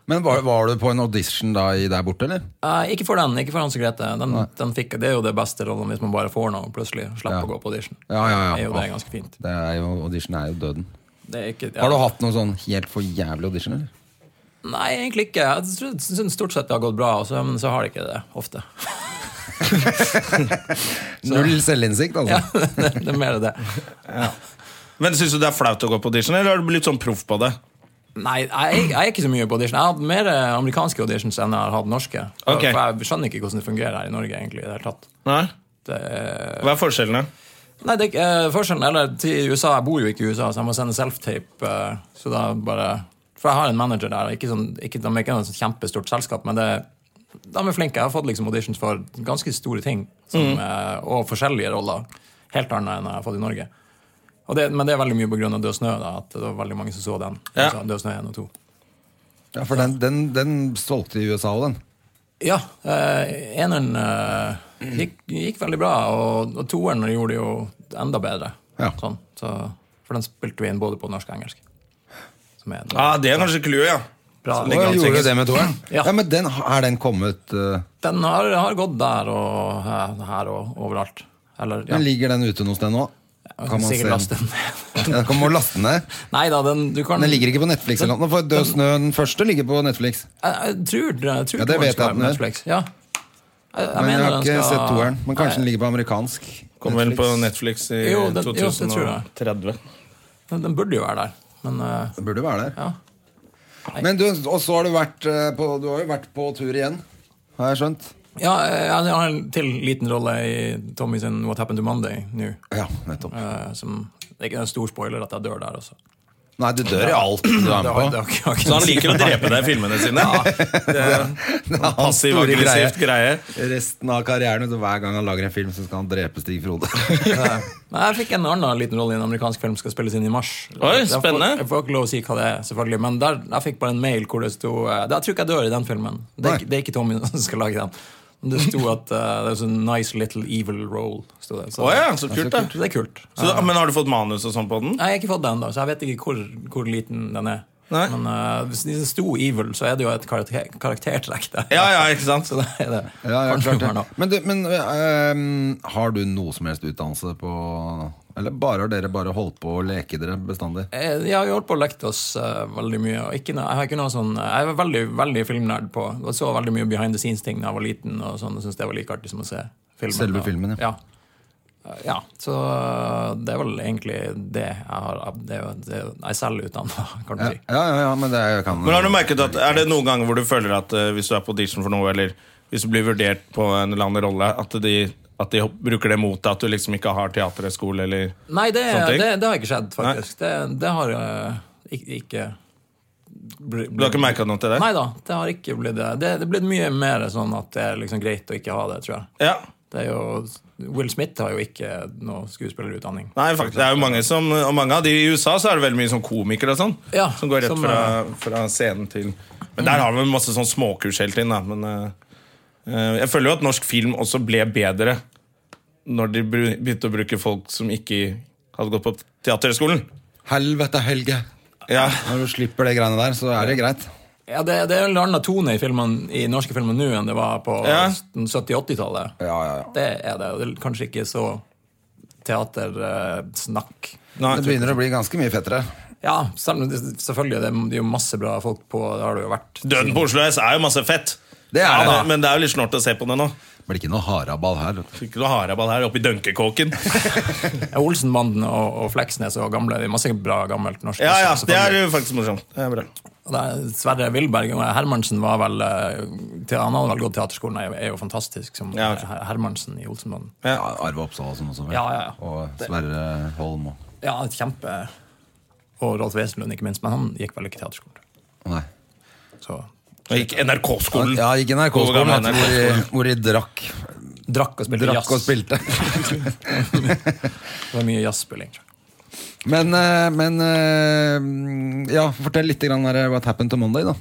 B: Men var, var du på en audition da i der borte, eller?
C: Eh, ikke for den, ikke for Hans Grete. Den, den fikk, det er jo det beste rollen hvis man bare får noe og plutselig slipper
B: Ja.
C: å gå på audition.
B: Ja, ja, ja.
C: Det er jo det
B: Ja.
C: ganske fint.
B: Det er jo, audition er jo døden.
C: Det er ikke, ja.
B: Har du hatt noen sånn helt for jævlig audition, eller?
C: Nei, egentlig ikke. Jeg tror- synes stort sett det har gått bra, og så, men så har det ikke det ofte.
B: Null selvinnsikt, altså.
C: Ja, det, det er mer det.
A: Men Syns du det er flaut å gå på audition, eller har du blitt sånn proff på det?
C: Nei, jeg, jeg er ikke så mye på audition. Jeg har hatt mer eh, amerikanske auditions enn jeg har hatt norske. For,
A: Ok.
C: for jeg skjønner ikke hvordan det fungerer her i Norge, egentlig. i Det hele tatt.
A: Nei?
C: Det, er-
A: Hva er forskjellene?
C: nei, det er ikke- eh, forskjellen Eller til USA, jeg bor jo ikke i USA, så jeg må sende self-tape. eh, Så da bare For jeg har en manager der. Ikke sånn, ikke, de er ikke noe sånn kjempestort selskap, men det, de er flinke. Jeg har fått liksom auditions for ganske store ting, som, eh, og forskjellige roller. Helt annet enn jeg har fått i Norge. Og det, men det er veldig mye pga. Død snø. Da, at det var veldig mange som så den.
A: Ja.
C: Så Død snø 1 og 2.
B: Ja, for den, den, den solgte i USA òg, den.
C: Ja, eh, eneren eh, gikk, gikk veldig bra, og, og toeren gjorde det jo enda bedre.
B: Ja.
C: Sånn, så, for den spilte vi inn både på norsk og engelsk. Som er en
A: Ah, det er kanskje clouet, ja.
C: bra.
B: Å, jeg gjorde det med toeren?
C: Ja.
B: Ja. men den, er den kommet eh,
C: Den har, har gått der og eh, her og overalt. Eller, ja.
B: Men Ligger den ute noe sted nå? Kan man
C: sikkert laste
B: se den?
C: den ned.
B: Ja, kan man laste den ned?
C: Nei da, den, du kan
B: Den ligger ikke på Netflix eller noe, for Død snø, den første, ligger på Netflix.
C: Jeg, jeg tror, jeg tror
B: Ja, det
C: toeren
B: vet jeg
C: skal
B: at
C: være på
B: den er.
C: Netflix. Ja. Jeg, jeg
B: Men jeg
C: mener
B: har
C: den
B: ikke
C: skal-
B: sett toeren. Men kanskje den ligger på amerikansk?
A: Kom vel på Netflix i
C: Jo, det- jo, det tror
A: 2030.
C: jeg. Den, den burde jo være der, men eh,
B: Det burde være der.
C: ja.
B: Men du, og så har du vært eh, på, du har jo vært på tur igjen, har jeg skjønt?
C: Ja, jeg jeg har en til liten rolle i Tommy sin What Happened to Monday nå.
B: Ja, nettopp.
C: eh, som, det er ikke en stor spoiler at jeg dør der også.
B: Nei, du dør i alt du er
C: Det har-
B: med på.
C: det har ikke- har ikke-
A: Så han liker å drepe deg i filmene sine?
B: Det er hans store
A: Passiv-aggressivt greie.
B: Resten av karrieren, vet du, hver gang han lager en film, så skal han drepe Stig Frode.
C: Men jeg fikk en annen liten rolle i en amerikansk film som skal spilles inn i mars.
A: Oi,
C: jeg, får,
A: spennende.
C: jeg får ikke lov å si hva det er, selvfølgelig men der, jeg fikk bare en mail hvor det sto eh, Jeg tror ikke jeg dør i den filmen. Det er,
B: Nei.
C: ikke- det er ikke Tommy som skal lage den. Men det sto at eh, det er en nice little evil role. Sto det. Så,
A: Å ja, så kult, da.
C: så det er kult.
A: Så, da- men har du fått manus og sånn på den?
C: Nei, Jeg har ikke fått den, da, så jeg vet ikke hvor, hvor liten den er.
A: Nei.
C: Men eh, hvis det sto evil, så er det jo et karakter, karaktertrekk der.
A: Ja, ja, ikke sant?
C: Så det er det.
B: Ja, ja,
C: Kanskje
B: klart
C: man
B: det.
C: har-
B: Men, du, men ehm, har du noe som helst utdannelse på Eller bare har dere bare holdt på å leke dere bestandig?
C: Eh, Jeg har jo holdt på å lekt oss eh, veldig mye. Og ikke, noe- jeg, har ikke noe sånn, jeg var veldig veldig filmnerd på og så veldig mye behind the scenes-ting da jeg var liten. og sånn, og syntes det var like artig som å se filmen.
B: Selve
C: og-
B: filmen,
C: ja. Eh, Ja, så eh, det er vel egentlig det jeg har det, er jo- det, er jo- Jeg er selv utdanna, kan du
B: Ja,
C: si.
B: ja, ja, ja men det er- jeg kan
A: Men har du merket at Er det noen ganger hvor du føler at eh, hvis du er på audition for noe, eller hvis du blir vurdert på en eller annen rolle, at de, at de hopp- bruker det mot deg? At du liksom ikke har teaterhøyskole, eller
C: Nei, det,
A: Sånne ting?
C: det, det har ikke skjedd, faktisk. Det, det har eh, ikke, ikke bli-
A: Du har ikke merka noe til det?
C: Nei da, det har ikke blitt det. Det det er blitt mye mer sånn at det er liksom greit å ikke ha det, tror jeg.
A: Ja.
C: Det er jo, Will Smith har jo ikke noe skuespillerutdanning.
A: Nei, faktisk, det er jo mange som Og mange av de i USA så er det veldig mye sånn komikere og sånn.
C: Ja,
A: som går rett
C: som,
A: fra,
B: eh,
A: fra scenen til Men der har vi masse sånn småkurs hele tiden, da. Men eh, eh, jeg føler jo at norsk film også ble bedre når de bru- begynte å bruke folk som ikke hadde gått på teaterhøgskolen.
B: Helvete, Helge!
A: Ja.
B: Når du slipper de greiene der, så er det greit.
C: Ja, Det, det er en annen tone i, filmen, i norske filmer nå enn det var på
A: Ja.
C: 70-80-tallet.
B: Ja, ja, ja.
C: Det er det. Det er kanskje ikke så teatersnakk.
A: Nei,
B: Det begynner å bli ganske mye fettere.
C: Ja, selv, om det- selvfølgelig. Det er- det er jo masse bra folk på Det har det jo vært.
A: Døden på Oslo S er jo masse fett.
B: Det er det.
A: men- Men det er jo litt snålt å se på det nå.
B: Blir ikke noe haraball her. vet du.
A: Fikk du haraball her oppe i dunkekåken?
C: Ja, Olsenbanden og, og Fleksnes og gamle. Det er masse bra gammelt norsk.
A: Ja, ja,
C: også,
A: det er
C: selvfølgelig.
A: jo faktisk morsomt. Det er bra.
C: Og det er Sverre Wilberg og Hermansen var vel eh, til, Han hadde vel gått teaterskolen, er jo, er jo fantastisk som
A: Ja, ok.
C: Her- Hermansen i Olsenbanden.
B: Ja, Arve Oppsal og sånn også. vel?
C: Ja, ja, ja.
B: Og Sverre Holm og
C: Ja, et kjempe Og Rolf Wesenlund, ikke minst. Men han gikk vel ikke teaterskolen.
B: Nei.
C: Så
A: Og gikk NRK-skolen.
B: Ja, gikk i
A: Hvor gammel
B: NRK-skolen,
A: er
B: vet du, hvor, de- hvor de drakk,
C: drakk og spilte
B: drakk
C: jazz.
B: og spilte.
C: Det var mye jazzspilling. tror jeg.
B: Men, eh, men eh, Ja, fortell litt grann der, what happened to Monday, da.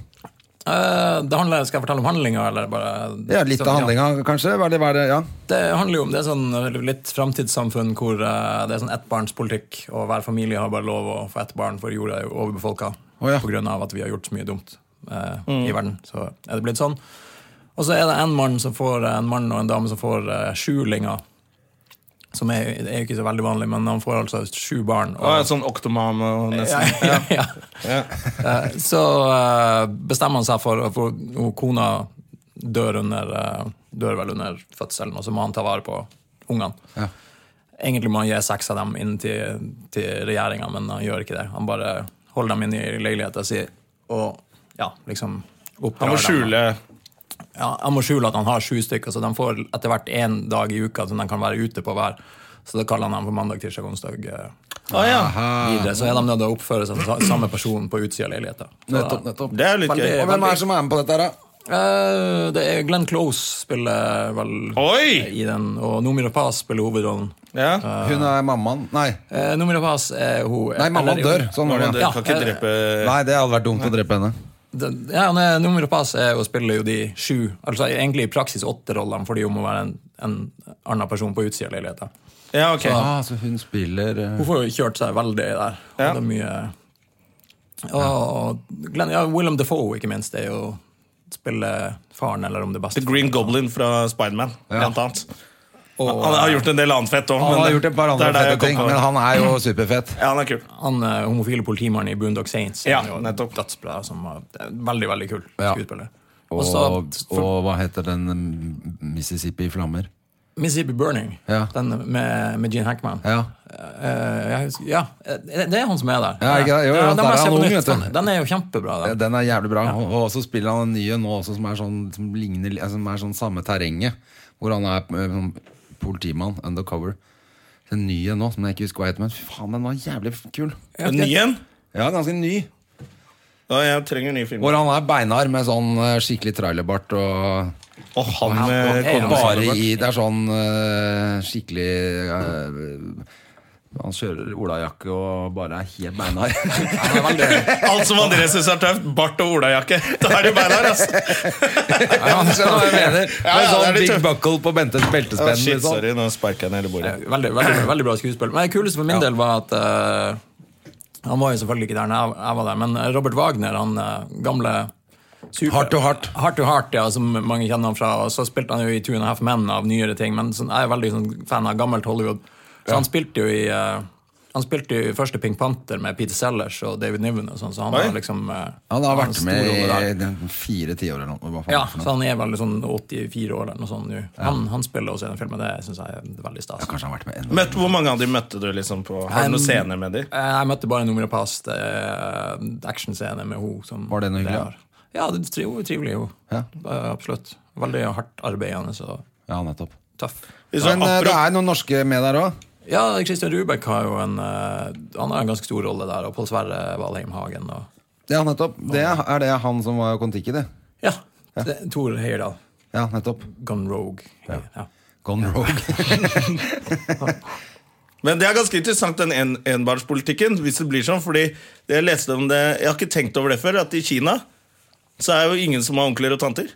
C: Eh, det handler, skal jeg fortelle om handlinga, eller bare
B: Ja, litt
C: Så-
B: av handlinga, kanskje? Hva er det, hva er det, ja.
C: Det handler jo om det er sånn litt framtidssamfunn hvor eh, det er sånn ettbarnspolitikk, og hver familie har bare lov å få ett barn, for jorda er jo overbefolka
B: Å ja. Mm.
C: på grunn av at vi har gjort så mye dumt eh, i verden. Så er det blitt sånn. Og så er det en mann, som får, en mann og en dame som får eh, sju linger. Som er, det er jo ikke så veldig vanlig, men han får altså sju barn.
A: Og en sånn oktomam og nesten.
C: ja, ja, ja. Eh, Så eh, bestemmer han seg for, for og Kona dør under eh, dør vel under fødselen, og så må han ta vare på ungene. Egentlig må han gi seks av dem inn til, til regjeringa, men han gjør ikke det. Han bare holder dem inne i leiligheta si og ja, liksom oppdrar
A: Han må
C: dem.
A: skjule
C: Ja, han må skjule at han har sju stykker, så de får etter hvert én dag i uka som de kan være ute på hver. Så det kaller han dem for mandag, tirsdag, onsdag. eh,
A: Å ja.
C: Videre, så er de nødt til å oppføre seg som sa- samme person på utsida av leiligheta. Så-
B: Nettopp, nettopp.
A: Det er jo litt
C: Veldig-
A: gøy.
B: Og hvem er det som er med på dette her, da?
C: Eh, det er Glenn Close spiller vel eh,
A: Oi!
C: i den, og Noomi Rapaz spiller hovedrollen.
A: Ja.
B: Hun er mammaen. Nei,
C: Eh, Noomi Rapaz er hun
B: Nei mammaen
C: eller-
B: dør. Sånn var det.
A: Men
B: ja.
A: dere kan ikke
C: Ja, eh,
A: drepe
B: Nei, det hadde vært dumt å drepe henne.
C: Den- Ja, han er nummer pass er å spille jo de sju, altså egentlig i praksis åtte rollene, fordi hun må være en, en annen person på utsida av leiligheta.
A: Ja, ok.
B: Ah, så hun spiller eh,
C: Hun får jo kjørt seg veldig der. og
A: Ja.
C: Det er mye... Og Glenn, ja, Willem Defoe, ikke minst, er jo spiller faren, eller om det er
A: The
C: beste.
A: Green Goblin fra Spiderman, blant annet.
C: Og
A: Han har gjort en del annet fett òg.
B: Han har gjort et par andre fette ting, men han er jo superfett.
A: Ja, han er kul.
C: han eh, homofile politimannen i Boondock Saints.
A: Ja,
C: han er jo
A: nettopp.
C: Dødsbra, som var det er veldig, veldig kul
B: Ja.
C: skuespiller.
B: Og,
C: så-
B: og hva heter den mm, Mississippi i flammer?
C: Mississippi Burning,
B: Ja.
C: den med, med Gene Hackman.
B: Ja.
C: Eh, jeg husker, ja, eh, det er han som er der.
B: Ja, ikke det? Jo, jo,
C: den
B: der
C: må
B: er
C: jeg se
B: han
C: på
B: ung,
C: nytt.
B: vet du.
C: Den- Den er jo kjempebra.
B: Ja,
C: Den.
B: Den er jævlig bra. Og- Og så spiller han en nye nå også, som er sånn som ligner, li- som er sånn samme terrenget. Hvor han er eh, sånn politimann, undercover. Den nye nå, som jeg ikke husker hva heter, men fy faen, den var jævlig kul.
A: En ny en?
B: Ja, ganske ny.
A: Ja, jeg trenger ny film.
B: Hvor han er beinhard med sånn eh, skikkelig trailerbart og
A: Og han
B: eh,
A: med
C: Ja,
A: kona
C: ja.
A: si.
B: bare i Det er sånn eh, skikkelig eh, Han kjører olajakke og bare er helt beinhard.
C: Den er veldig,
A: Alt som André syns er tøft. Bart og olajakke. Da er det beina her, altså.
B: Ja, du skjønner hva jeg mener.
A: Ja,
B: Med
A: ja, det er
B: sånn
A: litt
B: big
A: tøft.
B: buckle på Bentes beltespenn.
A: Shit,
B: liksom.
A: sorry. Nå sparker jeg ned i bordet.
C: veldig, veldig, veldig bra skuespill. Men det kuleste for min del var at eh, Han var jo selvfølgelig ikke der når jeg, jeg var der, men Robert Wagner, han eh, gamle super,
B: Heart to Heart.
C: Heart to Heart, ja, som mange kjenner han fra. Og så spilte han jo i Two and a Half Men av nyere ting, men sånn, jeg er veldig sånn, fan av gammelt Hollywood. Så han spilte jo i eh, han spilte jo i første Pink Panther med Peter Sellers og David Niven. Og sånn, så han
A: Oi.
C: var liksom eh,
B: Han har vært
C: en
B: med
C: stor rolle der.
B: i den fire tiår eller noe. Hva faen
C: Ja,
B: er det for
C: så
B: noe?
C: han er vel sånn 84 år eller noe sånt nå. Han, han spiller også i den filmen, det syns jeg er veldig stas.
B: Kanskje han har vært med enda
A: Møtt, hvor mange av de møtte du liksom på Har du noen scener med de?
C: Eh, Jeg møtte bare nummer og pass. Det er actionscene med henne.
B: Var det noe hyggelig?
C: Ja, det er jo trivelig, jo. Eh, Absolutt. Veldig hardt arbeidende og
B: Ja, nettopp
C: tøff.
A: Så,
B: Men eh, det
A: apropos-
B: er noen norske med der òg.
C: Ja, Christian Rubek har jo en eh, Han har en ganske stor rolle der, og Pål Sverre Valheim Hagen. Og,
B: Ja, nettopp. Det er er det han som var Kon-Tiki, det.
C: ja, ja. Tor Heyerdahl.
B: Ja, nettopp.
C: Gun Rogue. Ja.
B: Gone rogue.
A: Men det er ganske interessant, den en, enbarnspolitikken, hvis det blir sånn. Fordi jeg leste om det Jeg har ikke tenkt over det før, at i Kina så er jo ingen som har onkler og tanter.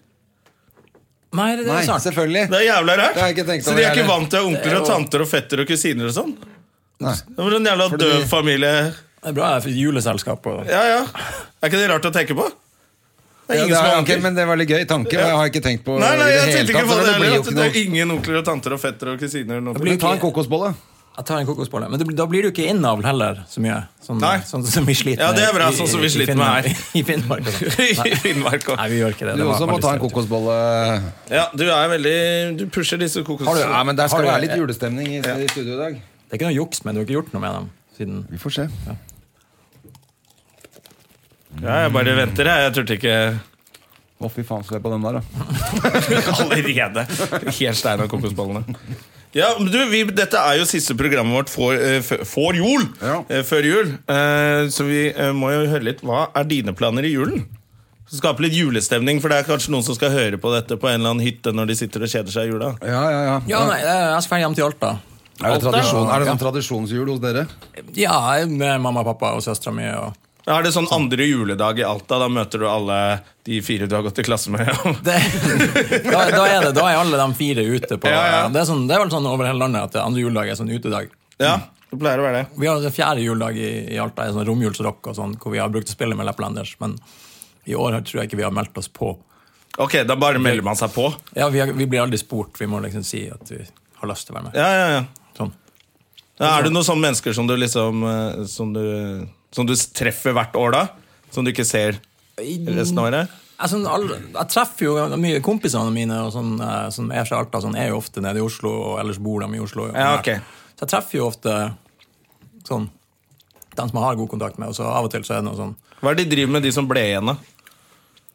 C: Nei, det, det
B: Nei,
C: er sant.
A: Det
B: selvfølgelig.
A: er jævla
B: Det har jeg
A: rart.
B: ikke tenkt
A: Så
B: over
A: de er ikke
B: heller.
A: vant til å ha
C: Det
A: onkler
C: er
A: og
C: jo-
A: tanter og fetter og kusiner og sånn.
B: Nei.
A: Det var en jævla
B: Fordi-
A: død familie.
C: Det er bra for juleselskap. Og,
A: Ja, ja. Er ikke det rart å tenke på? Det
B: Ja,
A: er ingen
B: det
A: som
B: er,
A: har
B: ok,
A: onkler.
B: men det var litt gøy tanke. og Jeg har ikke tenkt på
A: Nei, nei,
B: i
A: jeg
B: det hele
A: tenkte ikke på
B: tatt, så
A: det
B: blir
A: heller.
B: jo
A: at
B: ikke
A: Det er
B: noe-
A: ingen onkler og tanter og fetter og kusiner. og noe.
C: Det blir
B: Men ta en kokosbolle.
C: Jeg tar en kokosbolle. Men det, blir- da blir du ikke innavl heller så mye. Sånn,
A: Nei.
C: sånn som vi sliter
A: Ja, det er bra,
C: i-
A: sånn som vi
C: i- i
A: sliter med her.
C: Finnmark- I Finnmark. og sånn.
A: I Finnmark
C: Nei,
A: også.
C: vi gjør ikke det.
B: Du
C: det var
B: også må
C: veldig
B: ta en
C: stereotyp.
B: kokosbolle.
A: Ja, du er veldig Du pusher disse kokos...
B: Har du, ja, men Der skal
C: Har
B: det
C: du-
B: være litt julestemning i, i studio i dag.
C: Det er ikke noe juks, men du har ikke gjort noe med dem siden
B: Vi får se.
A: Ja, jeg bare venter, jeg. Jeg turte ikke
B: Å, fy faen, skal jeg på den der, da?
A: allerede. Helt stein av kokosballene. Ja, men du, vi, Dette er jo siste programmet vårt for, eh, f- for jul.
B: Ja.
A: Eh, Før jul. Eh, Så vi eh, må jo høre litt Hva er dine planer i julen? Skape litt julestemning, for det er kanskje noen som skal høre på dette på en eller annen hytte når de sitter og kjeder seg i jula.
B: Ja, ja, ja.
C: Ja, nei, eh, jeg skal hjem til Alta.
B: Er
A: Alt
B: det,
A: er-
B: tradisjon, er det
C: Ja.
B: sånn tradisjonsjul hos dere?
C: Ja, jeg er med mamma og pappa og søstera mi. Og
A: Er det sånn andre juledag i Alta? Da møter du alle de fire du har gått i klasse med?
C: det, da, da, er det, da er alle de fire ute på
A: Ja, ja.
C: Det, er sånn, det er vel sånn over hele landet at det andre juledag er sånn utedag.
A: ja, det pleier å være det.
C: Vi har den fjerde juledag i, i Alta, er sånn romjulsrock og sånn, hvor vi har brukt å spille med Lapplanders, men i år har- tror jeg ikke vi har meldt oss på.
A: Ok, da bare melder man seg på.
C: Ja, vi, har- vi blir aldri spurt. Vi må liksom si at vi har lyst til å være med.
A: Ja, ja, ja.
C: Sånn.
A: Ja, er det noen sånne mennesker som du liksom eh, som du, som du treffer hvert år, da? Som du ikke ser resten av året?
C: Jeg, sånn, alle, jeg treffer jo mye kompisene mine og sånn, eh, som er fra Alta, sånn, er jo ofte nede i Oslo, og ellers bor de i Oslo. og
A: Ja,
C: sånn der.
A: ok.
C: Så jeg treffer jo ofte sånn, dem som jeg har god kontakt med, og så av og til så er det noe sånn
A: Hva er det de driver med, de som ble igjen, da?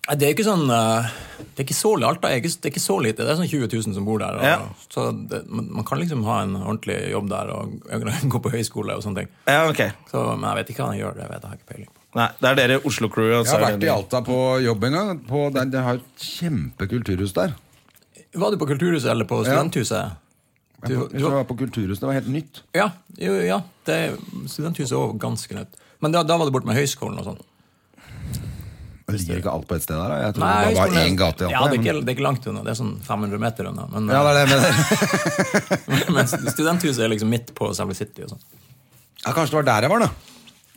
C: Nei, Det er ikke sånn eh, Det er ikke så Alta er ikke, det er ikke så lite. Det er sånn 20 000 som bor der. Og,
A: Ja.
C: Så det, man, man kan liksom ha en ordentlig jobb der og gå på høyskole og sånne ting.
A: Ja, ok.
C: Så, men jeg vet ikke hva han gjør. Det vet jeg har ikke peiling på.
A: Nei, det er dere Oslo-crewet. og
B: Jeg
A: så
B: har
A: er det
B: vært
A: Mm.
B: i
A: de-
B: Alta på jobb en gang. På, det, det har et kjempekulturhus der.
C: Var du på Kulturhuset eller på Studenthuset? Du,
B: Jeg var-
C: du,
B: jeg var på kulturhuset, det var helt nytt.
C: ja, jo, ja det, Studenthuset er også ganske nytt. Men da, da var det borte med høyskolen og sånn.
B: Det ligger ikke alt på et sted der. da. Jeg trodde
C: Nei,
B: det var
C: høyskolen
B: bare
C: er-
B: én gate i Alta.
C: Ja, det er,
B: men-
C: ikke, det er ikke langt unna. Det er sånn 500 meter unna. Men,
B: ja, det er det jeg mener.
C: men studenthuset er liksom midt på selve City og sånn.
B: Ja, kanskje det var der jeg var, da.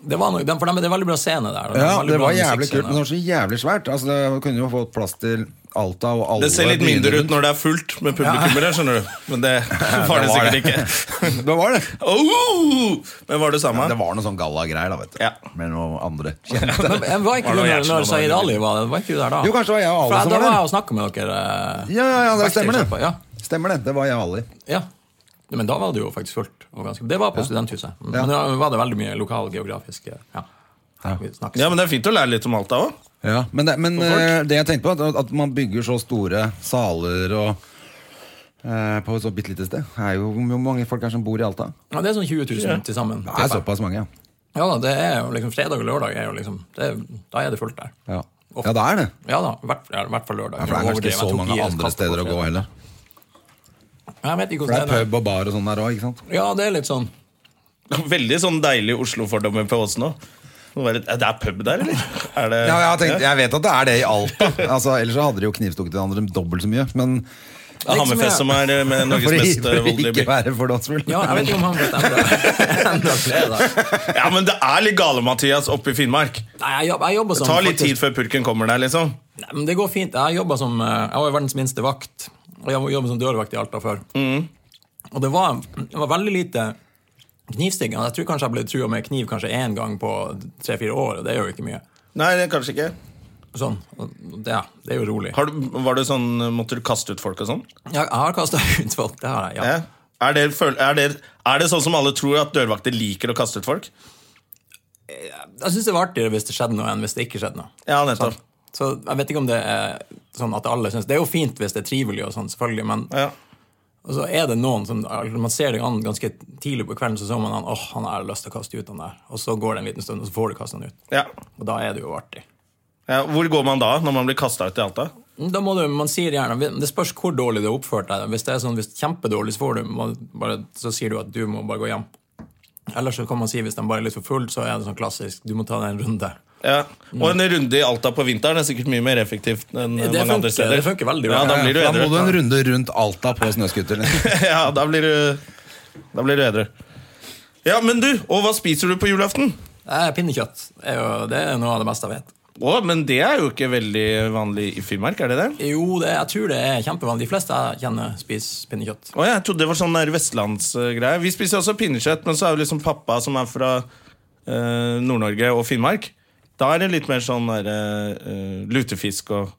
C: Det var nok, for dem, det er veldig bra scene der. og
B: Ja,
C: veldig
B: det
C: bra
B: var jævlig
C: musikkscene.
B: kult, men det var så jævlig svært. Altså, det kunne jo fått plass til Alta og alle
A: Det ser litt
B: byene
A: mindre ut
B: rundt.
A: når det er fullt med publikum der, skjønner du. Men det var det
B: var
A: sikkert
B: det.
A: ikke.
B: Det var det.
A: Oh! Men var det samme?
B: Det var noe sånn gallagreier, da, vet du.
A: Ja.
B: Med noen andre kjente.
C: Men jeg var ikke
A: Var det noe
C: det når, når
A: hjertelig
C: Zaid
A: noe?
C: Ali var det? Var ikke du der da?
B: Jo, kanskje det var jeg og
C: For
B: alle som
C: da
B: var
C: var jeg
B: der.
C: og snakka med dere. eh,
B: Ja, ja, ja, det
C: backstage
B: stemmer
C: etterpå.
B: det.
C: Ja,
B: Stemmer det. Det var jeg og Ali.
C: ja. Ja, Men da var det jo faktisk fullt. Og ganske, det var på studenthuset. Mm. Men da var det veldig mye lokalgeografisk eh, ja. Vi snakkes.
A: Ja, men det er fint å lære litt om Alta òg.
B: Ja, men det, men,
A: Og folk.
B: eh, det jeg tenkte på, at, at man bygger så store saler og eh, på et så bitte lite sted. Det er jo Hvor mange folk er det som bor i Alta?
C: Ja, det er sånn 20 000 til sammen.
B: Det er såpass mange, ja.
C: Ja, det er jo liksom fredag og lørdag er jo liksom det, Da er det fullt der.
B: Ja, ja det er det.
C: Ja da, i hvert, ja, i hvert fall lørdag.
B: Ja, for det er kanskje
C: Overdrevet,
B: ikke så
C: jeg tok i
B: mange
C: et
B: andre
C: kast på
B: steder å
C: fredag.
B: gå heller.
C: Jeg vet ikke
B: For det
C: hvordan
B: er
C: det er.
B: pub og bar og sånn der òg, ikke sant?
C: Ja, det er litt sånn
A: Veldig sånn deilig Oslo-fordommer på oss nå. Det var litt- er det pub der, eller? Er det,
B: Ja, jeg, har tenkt, jeg vet at det er det i Alta. Altså, ellers så hadde de jo knivstukket hverandre dobbelt så mye. Men
A: Det er Hammerfest som er eh, med
B: for,
A: Norges
B: å-
A: mest eh,
B: for å
A: voldelige
B: ikke
A: by.
B: være fordomsfull.
C: Ja, jeg vet ikke om han bestemte enda fredag.
A: Ja, men det er litt gale, Mathias, oppe i Finnmark.
C: Nei, jeg, jobb, jeg jobber
A: Det
C: som
A: tar litt
C: faktisk-
A: tid før purken kommer der, liksom.
C: Nei, men det går fint. Jeg jobba som eh, Jeg var jo verdens minste vakt. Og jeg jobba som dørvakt i Alta før.
A: Mm.
C: Og det var, det var veldig lite knivstikking. Jeg tror kanskje jeg ble trua med kniv kanskje én gang på tre-fire år, og det er jo ikke mye.
A: Nei, det er kanskje ikke.
C: Sånn, og det, det er jo rolig.
A: Har du, var det sånn, eh, Måtte du kaste ut folk og sånn?
C: Jeg, jeg har kasta ut folk, det har jeg. ja.
A: Ja. Er, det, føl- er, det, er det sånn som alle tror at dørvakter liker å kaste ut folk?
C: Jeg syns det var artigere hvis det skjedde noe, enn hvis det ikke skjedde noe.
A: Ja, nettopp.
C: Så jeg vet ikke om det er sånn at alle synes Det er jo fint hvis det er trivelig, og sånn, selvfølgelig, men
A: Ja.
C: Og så Altså, er det noen som altså, Man ser det an ganske tidlig på kvelden, så ser man han, åh, han har lyst til å kaste ut han der. Og så går det en liten stund, og så får du kaste han ut.
A: Ja.
C: Og da er det jo artig.
A: Ja, hvor går man da, når man blir kasta ut i Alta?
C: Da må du, man sier gjerne, Det spørs hvor dårlig du har oppført deg. Hvis det er sånn, hvis det er kjempedårlig, så, får du, man bare, så sier du at du må bare gå hjem. Ellers så kan man si hvis de bare er litt for full, så er det sånn klassisk du må ta deg en runde.
A: Ja. Og en runde i Alta på vinteren er sikkert mye mer effektivt enn eh,
C: Det
A: mange andre
C: funker-
A: steder.
C: det funker veldig bra.
A: ja, da blir du
B: da må du en
A: edru.
B: runde rundt Alta på liksom. snøscooteren.
A: ja, da blir du, da blir du edru. Ja, men du, og hva spiser du på julaften?
C: Eh, Pinnekjøtt er jo det er noe av det beste jeg vet.
A: Å, men det er jo ikke veldig vanlig i Finnmark, er det det?
C: Jo, det, jeg tror det er kjempevanlig. De fleste jeg kjenner, spiser pinnekjøtt.
A: Å, jeg trodde det var sånn der vestlandsgreie. Vi spiser også pinnekjøtt, men så er jo liksom pappa som er fra eh, Nord-Norge og Finnmark. Da er det litt mer sånn der, eh, eh, lutefisk og,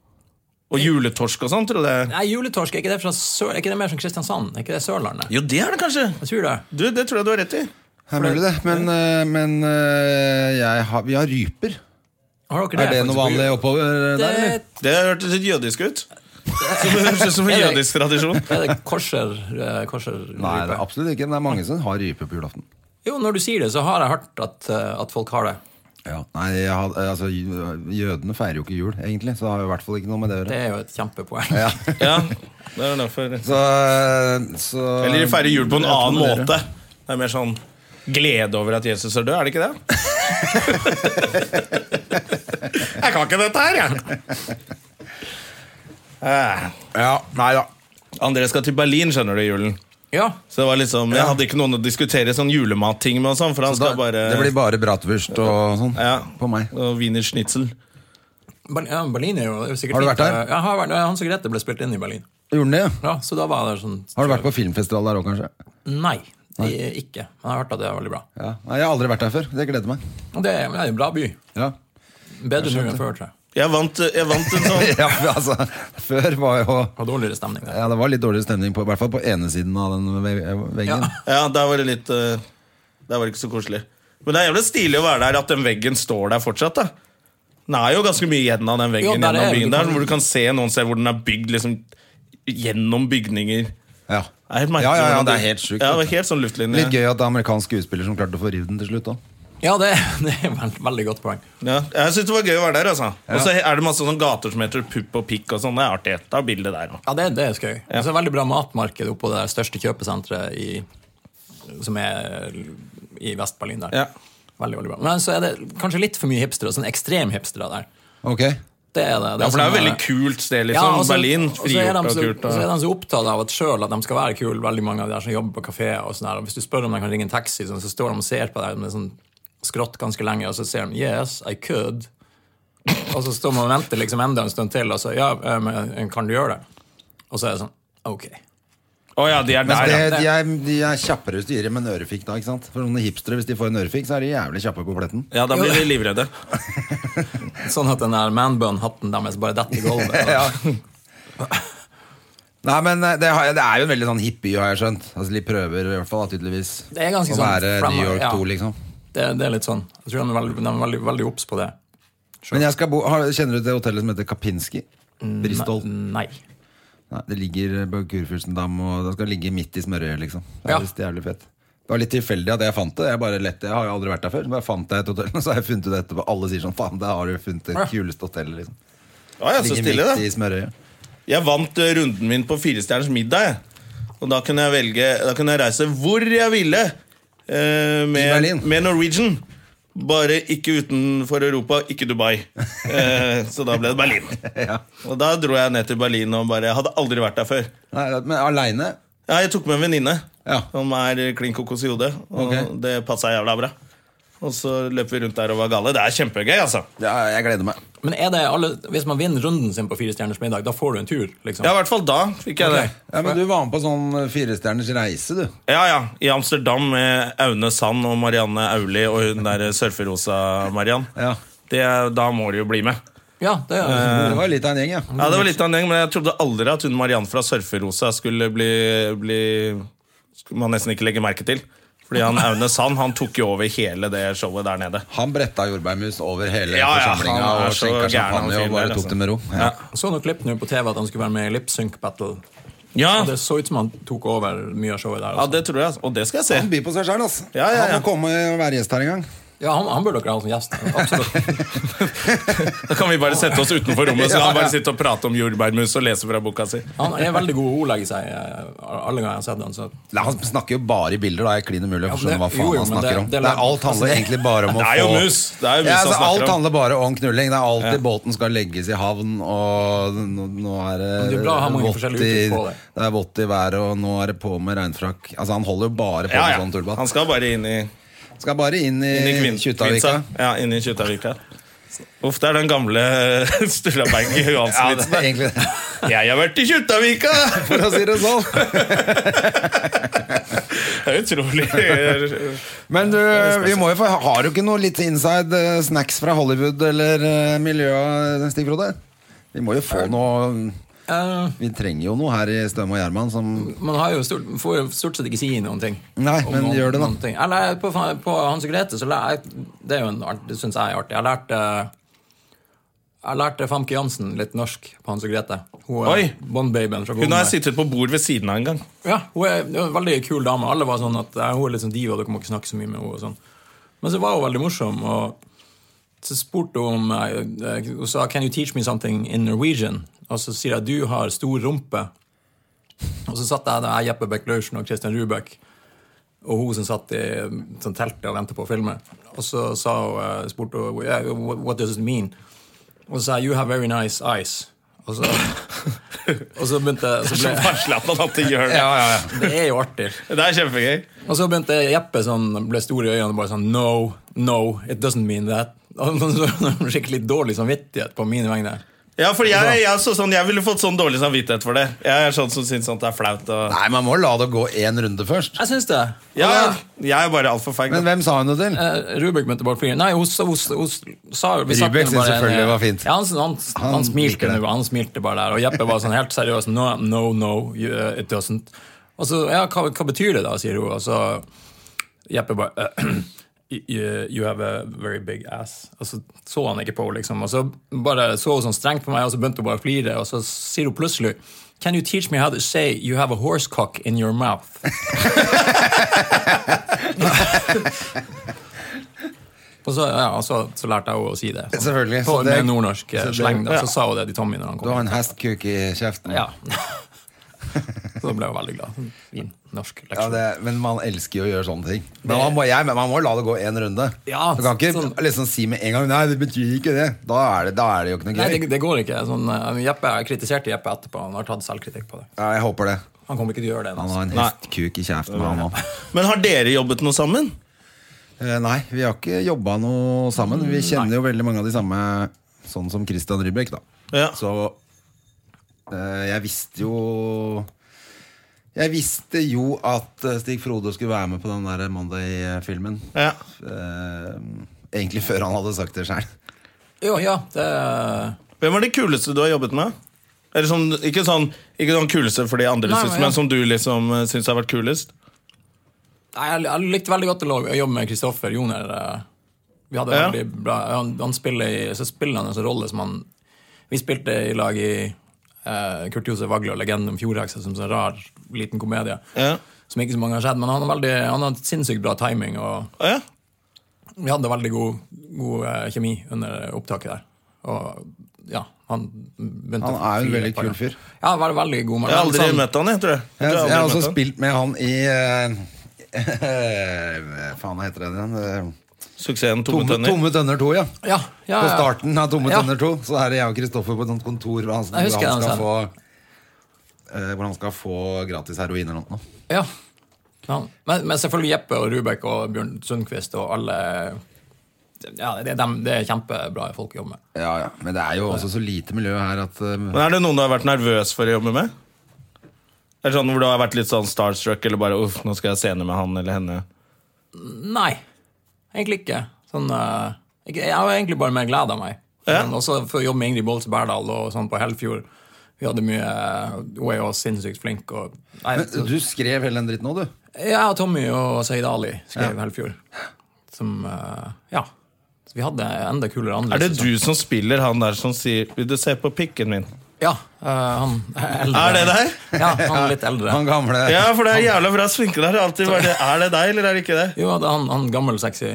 A: og juletorsk og sånn, trodde jeg.
C: Nei, juletorsk, er ikke det, fra Sør, er ikke det mer som Kristiansand? Er ikke det Sørlandet?
A: Jo, det er det kanskje.
C: Jeg tror det.
A: Du, Det tror jeg du har rett i.
B: Det er mulig, det. Men, eh, men eh, jeg har, vi har ryper.
C: Har dere
B: Er det noe vanlig oppover der, eller?
C: Det,
A: Det hørtes litt jødisk ut. Som, det høres ut som en
C: Er det-
A: jødisk tradisjon.
C: er det korser, eh, korser
B: Nei, det er absolutt ikke. Men det er mange som har rype på julaften.
C: Jo, når du sier det, så har jeg hørt at, eh, at folk har det.
B: Ja. Nei, jeg har, altså, Jødene feirer jo ikke jul, egentlig, så det har jo i hvert fall ikke noe med det å
C: Det
B: gjøre.
C: er jo et kjempepoeng.
B: Ja.
A: Ja, det er derfor.
B: Så, så
A: Eller de feirer jul på en
B: Jeg tror
A: annen
B: det er det.
A: måte. Det er mer sånn glede over at Jesus er død, er det ikke det? jeg kan ikke dette her, jeg. Eh,
B: Ja, nei da.
A: André skal til Berlin, skjønner du, i julen.
C: Ja,
A: Så det var liksom, Jeg hadde ikke noen å diskutere sånn julematting med. og sånn, for han
B: Da,
A: skal bare...
B: Det blir bare bratwurst og sånn
A: ja,
B: på meg.
A: Og wiener schnitzel.
C: Berlin, ja, Berlin er jo det er jo sikkert
B: Har du vært
C: fint.
B: der?
C: Ja, jeg har vært, Hans og Grete ble spilt inn i Berlin.
B: Gjorde den det? ja?
C: Ja, så da var jeg der sånn
B: Har du vært på filmfestival der òg, kanskje?
C: Nei, jeg- ikke. Men jeg har hørt at det er veldig bra.
B: Ja. Nei, jeg har aldri vært der før. Det gleder meg.
C: Og det er det er en bra by.
B: Ja.
C: Bedre nå enn før, tror jeg.
A: Jeg vant, jeg vant en sånn
B: ja, men altså, før var jo
C: Og dårligere stemning. der.
B: ja, Det var litt dårlig stemning, på, i hvert fall på ene siden av den ve- veggen.
A: Ja, der var det litt eh, Der var det ikke så koselig. Men det er jævlig stilig å være der at den veggen står der fortsatt. da Den er jo ganske mye igjen av den veggen
C: Jo, der er-
A: gjennom
C: du
A: byen
C: kan-
A: der, hvor du kan se noen steder hvor den er bygd liksom gjennom bygninger. Det
B: Ja.
A: er helt merkelig
B: ja, ja, ja,
A: hvordan
B: det er helt sjukt.
A: Ja, det var helt sånn luftlinje.
B: Litt gøy at det er amerikansk skuespiller som klarte å få rivd den til slutt. da
C: Ja, det, det er et veld, veldig godt poeng.
A: Ja, jeg synes det var gøy å være der, altså. Og så er det masse sånne gater som heter Pupp og Pikk og sånn. Det er artig. Ta bilde der òg.
C: Ja, det, det er skøy. Og så er det veldig bra matmarked oppå det der største kjøpesenteret i, som er i Vest-Berlin der.
A: Ja.
C: Veldig, veldig bra. Men så er det kanskje litt for mye hipstere, sånn ekstrem hipstere der.
B: Ok
C: Det er det.
A: Ja, for det er jo
C: sånn,
A: veldig
C: eh,
A: kult sted,
C: ja,
A: liksom.
C: og så-
A: Berlin.
C: og så
A: Frigjort
C: er de
A: og
C: så-
A: kult.
C: Og så er
A: Og...
C: de så opptatt av at selv at de skal være kule, veldig mange av de der som jobber på kafé og sånn der. Og Hvis du spør om de kan ringe en taxi, sånn, så står de og ser på deg med sånn skrått ganske lenge, og så ser de 'Yes, I could'. Og så står man og venter liksom enda en stund til, og så 'Ja, eh, men kan du gjøre det?' Og så er det sånn 'Ok'.
A: Å ja, de er
B: Men
A: der, ja.
B: det, de, er, de er kjappere hvis de gir dem en ørefik. da, ikke sant? For sånne hipstere, Hvis de får en ørefik, så er de jævlig kjappe på pletten.
A: Ja, da blir de livredde.
C: Sånn at den der manbun-hatten deres bare detter i gulvet.
B: Ja. Nei, men eh, det, har, jeg- det er jo en veldig sånn hippie, har jeg skjønt. Altså, De prøver i hvert fall, da, tydeligvis.
C: Det er ganske
B: å
C: sånn
B: være
C: fremme-
B: New York
C: ja.
B: 2, liksom.
C: Det, det er litt sånn. Jeg tror de er veldig, de er veldig, veldig obs på det.
B: Men jeg skal bo, har, Kjenner du til hotellet som heter Kapinski? Bristol?
C: Mm, Nei.
B: Nei, det ligger eh, på Kurfürstendam, og det skal ligge midt i smørøyet, liksom. Det er
C: Ja.
B: visst jævlig fett. Det var litt tilfeldig at jeg fant det. Jeg bare lette, jeg har jo aldri vært der før. Så bare fant jeg et hotell, og så har jeg funnet ut etterpå. Alle sier sånn faen, der har du funnet det
C: Ja.
B: kuleste hotellet, liksom.
A: Å ja, så
B: Ligger
A: stille, da.
B: midt i smørøyet.
A: Jeg vant eh, runden min på Firestjerners middag. Jeg. Og da kunne jeg velge Da kunne jeg reise hvor jeg ville eh, med,
B: Berlin.
A: med Norwegian. Bare ikke utenfor Europa, ikke Dubai. Eh, så da ble det Berlin.
B: Ja.
A: Og da dro jeg ned til Berlin og bare Jeg hadde aldri vært der før.
B: Nei, men aleine?
A: Ja, jeg tok med en venninne
B: Ja.
A: som er klin kokos i hodet, og
B: Ok.
A: det passa jævla bra. Og så løp vi rundt der og var gale. Det er kjempegøy, altså.
B: Ja, jeg gleder meg.
C: Men er det alle, hvis man vinner runden sin på Fire stjerners middag, da får du en tur? liksom?
A: Ja, i hvert fall da fikk jeg
C: Ok.
A: det.
B: Ja, Men du var med på sånn firestjerners reise, du.
A: Ja, ja. I Amsterdam med Aune Sand og Marianne Auli og hun der surferosa Mariann.
B: Ja.
A: Det, da må du jo bli med.
C: Ja, det er
A: Eh.
B: Det var litt av en gjeng, ja.
A: Ja, det var litt av en gjeng, men jeg trodde aldri at hun Mariann fra Surferosa skulle bli, bli Skulle man nesten ikke legge merke til. Fordi han Aune Sand han tok jo over hele det showet der nede.
B: Han bretta jordbærmus over hele
A: Ja, ja,
B: forsamlinga
A: han er
B: og
A: så
B: skjenka
A: gæren, han
B: champagne og
A: fyren der,
B: bare
A: altså.
B: tok det med ro. Ja.
A: Ja.
C: Så noe klipp nå på TV at han skulle være med i Lip Sync Battle.
A: Ja,
C: Og det så ut som han tok over mye av showet
A: Ah.
C: der.
A: ja
C: også.
A: det tror jeg. altså. Og det skal jeg
B: Han
A: se.
B: byr på seg sjøl, altså.
A: Ja, ja, ja.
B: Han må komme og være gjest her en gang.
C: Ja, han, han burde dere ha som gjest. Absolutt.
A: Da kan vi bare sette oss utenfor rommet, så
B: Ja,
A: kan han
B: ja.
A: bare sitte og prate om jordbærmus og lese fra boka si.
C: Han er veldig god å ordlegge seg eh, alle ganger jeg har sett han, så
B: Nei, Han snakker jo bare i bilder, da. Jeg er klin umulig å
C: Ja,
B: skjønne
C: men
B: hva
C: det-
B: faen
C: jo,
B: han
C: jo, men
B: snakker
C: det- Altså,
B: om.
C: det-
B: Det er alt handler egentlig bare om å
A: Det
B: få
A: er jo mus. Det er jo mus
B: ja,
A: han
B: altså,
A: snakker
B: Alt
A: om.
B: handler bare om knulling. Det er alltid båten skal legges i havn, og nå, nå er det
C: Men det er bra å ha mange
B: vått
C: forskjellige
B: i-
C: uttrykk på det.
B: Det er vått i været, og nå er det på med regnfrakk. Altså, han holder jo bare på
A: Ja,
B: med sånn Eh,
A: ja.
B: tullbatt.
A: Han skal bare inn i
B: Skal bare inn i,
A: Inni Kvin-
B: Kjuttaviga.
A: Kvinsa. Ja, inni Kjuttaviga. Uff, det er den gamle Sturlaberg
B: Ja, det er
A: Johansen-vitsen.
B: egentlig det,
A: jeg har vært i Kjuttaviga!
B: for å si det sånn.
A: Det er utrolig.
B: Men du, vi må jo få Har du ikke noe litt inside eh, snacks fra Hollywood eller eh, miljøet, Stig Frode? Vi må jo få noe
C: Eh,
B: Vi trenger jo noe her i Støm og Gjerman som
C: Man har jo stort, får jo stort sett ikke si noen ting.
B: Nei,
C: Om
B: men gjør det da.
C: noen ting. Eller på, på Hans og Grete, så lær, det er jo en art, det syns jeg er artig. Jeg lærte jeg lærte Famke Jansen litt norsk på Hans og Grete. Hun er
A: Oi!
C: Bond-babyen fra
A: Hun har
C: Bonde.
A: jeg sittet på bord ved siden av en gang.
C: Ja, hun er, hun er en veldig kul dame. Alle var sånn at ja, hun er litt sånn diva, dere må ikke snakke så mye med henne. og sånn. Men så var hun veldig morsom, og så spurte hun om eh, eh, Hun sa 'Can you teach me something in Norwegian?' Og så sier jeg 'Du har stor rumpe'. Og så satt jeg der, Jeppe Bech-Laursen og Christian Rubek, og hun som satt i eh, sånn teltet og ventet på å filme. Og så sa hun, eh, spurte hun yeah, what- 'What does it mean?' Og så sa jeg 'You have very nice eyes'. Og så, og så begynte jeg så
A: Så
C: ble,
A: varslet han at det gjør det.
C: Det er jo artig.
A: Det er kjempegøy.
C: Og så begynte Jeppe sånn, ble stor i øynene og bare sånn No, no, it doesn't mean that. Og så- Skikkelig dårlig samvittighet på mine vegne.
A: Ja, for jeg, jeg, er så sånn, jeg ville fått sånn dårlig samvittighet for det. Jeg er sånn som syns sånt er flaut. Og...
B: Nei, man må la det gå én runde først.
C: Jeg syns det.
A: Ja, jeg er bare altfor feig. da.
B: Men hvem sa hun det til?
C: Eh, Rubik møtte Bård Flyger. Nei, hos, hos, hos, sa, vi satt
B: Rubik
C: med bare
B: synes selvfølgelig
C: en- eh,
B: det var fint.
C: Ja, han, han, han,
B: Han liker
C: smilte
B: det.
C: nå, han smilte bare der. Og Jeppe var sånn helt seriøs. No, no, no, you, uh, it doesn't. Og så, ja, hva, hva betyr det da, sier hun. Og så Jeppe bare You, you have a very big ass. Og så så han ikke på henne, liksom. Og så bare så hun sånn strengt på meg, og så begynte hun bare å flire. Og så sier hun plutselig Can you teach me how to say you have a horse cock in your mouth? Og så, ja, og så, så lærte jeg henne å si det. Så,
B: Selvfølgelig,
C: På,
B: så det-
C: med nordnorsk eh,
B: så det-
C: sleng. da.
B: ja.
C: Så sa hun det til Tommy når han
B: Du
C: kom.
B: har en hestkuk i kjeften.
C: Ja. så da ble hun veldig glad. Fin norsk leksjon.
B: Ja, det, men man elsker jo å gjøre sånne ting. Men man må, jeg, men man må la det gå én runde.
C: Ja,
B: du kan ikke
C: sånn.
B: liksom si med en gang Nei, det betyr ikke det. Da er det, da er det jo ikke noe
C: Nei,
B: gøy.
C: det, det går ikke. Sånn, eh, Jeppe, jeg kritiserte Jeppe etterpå. Han har tatt selvkritikk på det.
B: Ja, jeg håper det.
C: Han kommer ikke til å gjøre det.
B: Han
C: Altså.
B: har en
A: Nei.
B: hestkuk i kjeften. Han, også.
A: Men har dere jobbet noe sammen?
B: Eh, Nei, vi har ikke jobba noe sammen.
A: Mm,
B: Vi kjenner jo veldig mange av de samme, sånn som Christian Rybek, da.
A: Ja.
B: Så eh, jeg visste jo Jeg visste jo at eh, Stig Frode skulle være med på den der Monday-filmen.
A: Ja.
B: Eh, egentlig før han hadde sagt det sjøl.
C: Jo, ja, det,
A: Hvem er de kuleste du har jobbet med? Eller som, ikke, sånn, ikke sånn kuleste for de andre,
C: Nei,
A: synes,
C: men ja.
A: men som du liksom eh, syns har vært kulest?
C: Nei, jeg, jeg likte veldig godt å lo- å jobbe med Kristoffer Joner. eh, Vi hadde
A: Ja.
C: veldig bra Han, han spiller i, så spiller han en sånn rolle som han Vi spilte i lag i eh, Kurt Josef Vagle og Legenden om Fjordheksa som en sånn rar liten komedie.
A: Ja.
C: Som ikke så mange har sett, men han har, veldig, han har sinnssykt bra timing. og
A: Å, ja.
C: Vi hadde veldig god, god eh, kjemi under opptaket der. Og ja, han begynte
B: Han
C: å
B: er jo en
C: flire
B: veldig
C: et
B: kul
C: par ganger.
B: fyr.
C: Ja, han var veldig god. men
A: Jeg har aldri
C: sånn-
A: møtt han, jeg, tror jeg. jeg.
B: Jeg,
A: tror
B: jeg har også
A: møtt han.
B: spilt med han i eh, Faen, hva heter det igjen? Eh,
A: Suksessen Tomme
B: Tomme,
A: Tønner.
B: tomme tønner 2, ja.
C: Ja, ja,
B: På
C: ja.
B: starten av Tomme
C: Ja.
B: tønner 2 så er det jeg og Kristoffer på et sånt kontor hvor han,
C: Jeg
B: hvor
C: husker
B: han
C: den
B: skal få eh, Hvor han skal få gratis heroin eller noe.
C: Ja. Ja. Men, men selvfølgelig Jeppe og Rubek og Bjørn Sundquist og alle ja, det, er dem, det er kjempebra folk å jobbe med.
B: Ja, ja. Men det er jo også så lite miljø her at eh,
A: Men Er det noen du har vært nervøs for å jobbe med? Er det sånn hvor du har vært litt sånn starstruck eller bare uff, nå skal jeg scene med han eller henne?
C: Nei, egentlig ikke. Sånn, eh, ikke- jeg har egentlig bare mer glede av meg.
A: Ja.
C: Men også for å jobbe med Ingrid Bolse Berdal og sånn på Hellfjord. Vi hadde mye Hun er jo sinnssykt flink. Og, nei, så-
B: men Du skrev hele den dritten nå, du.
C: Ja, Tommy og Saeed Ali skrev Hellfjord. Som eh, Ja. Så vi hadde enda kulere andre.
A: Er det
C: sesong.
A: du som spiller han der som sier 'vil du se på pikken min'?
C: Ja. eh, han er eldre.
A: Er det deg?
C: Ja, han er litt eldre.
B: Han gamle.
A: Ja, for det er jævla bra sminke der. Alltid bare, er det deg, eller er det ikke det?
C: Jo, det er han, han gammel, sexy.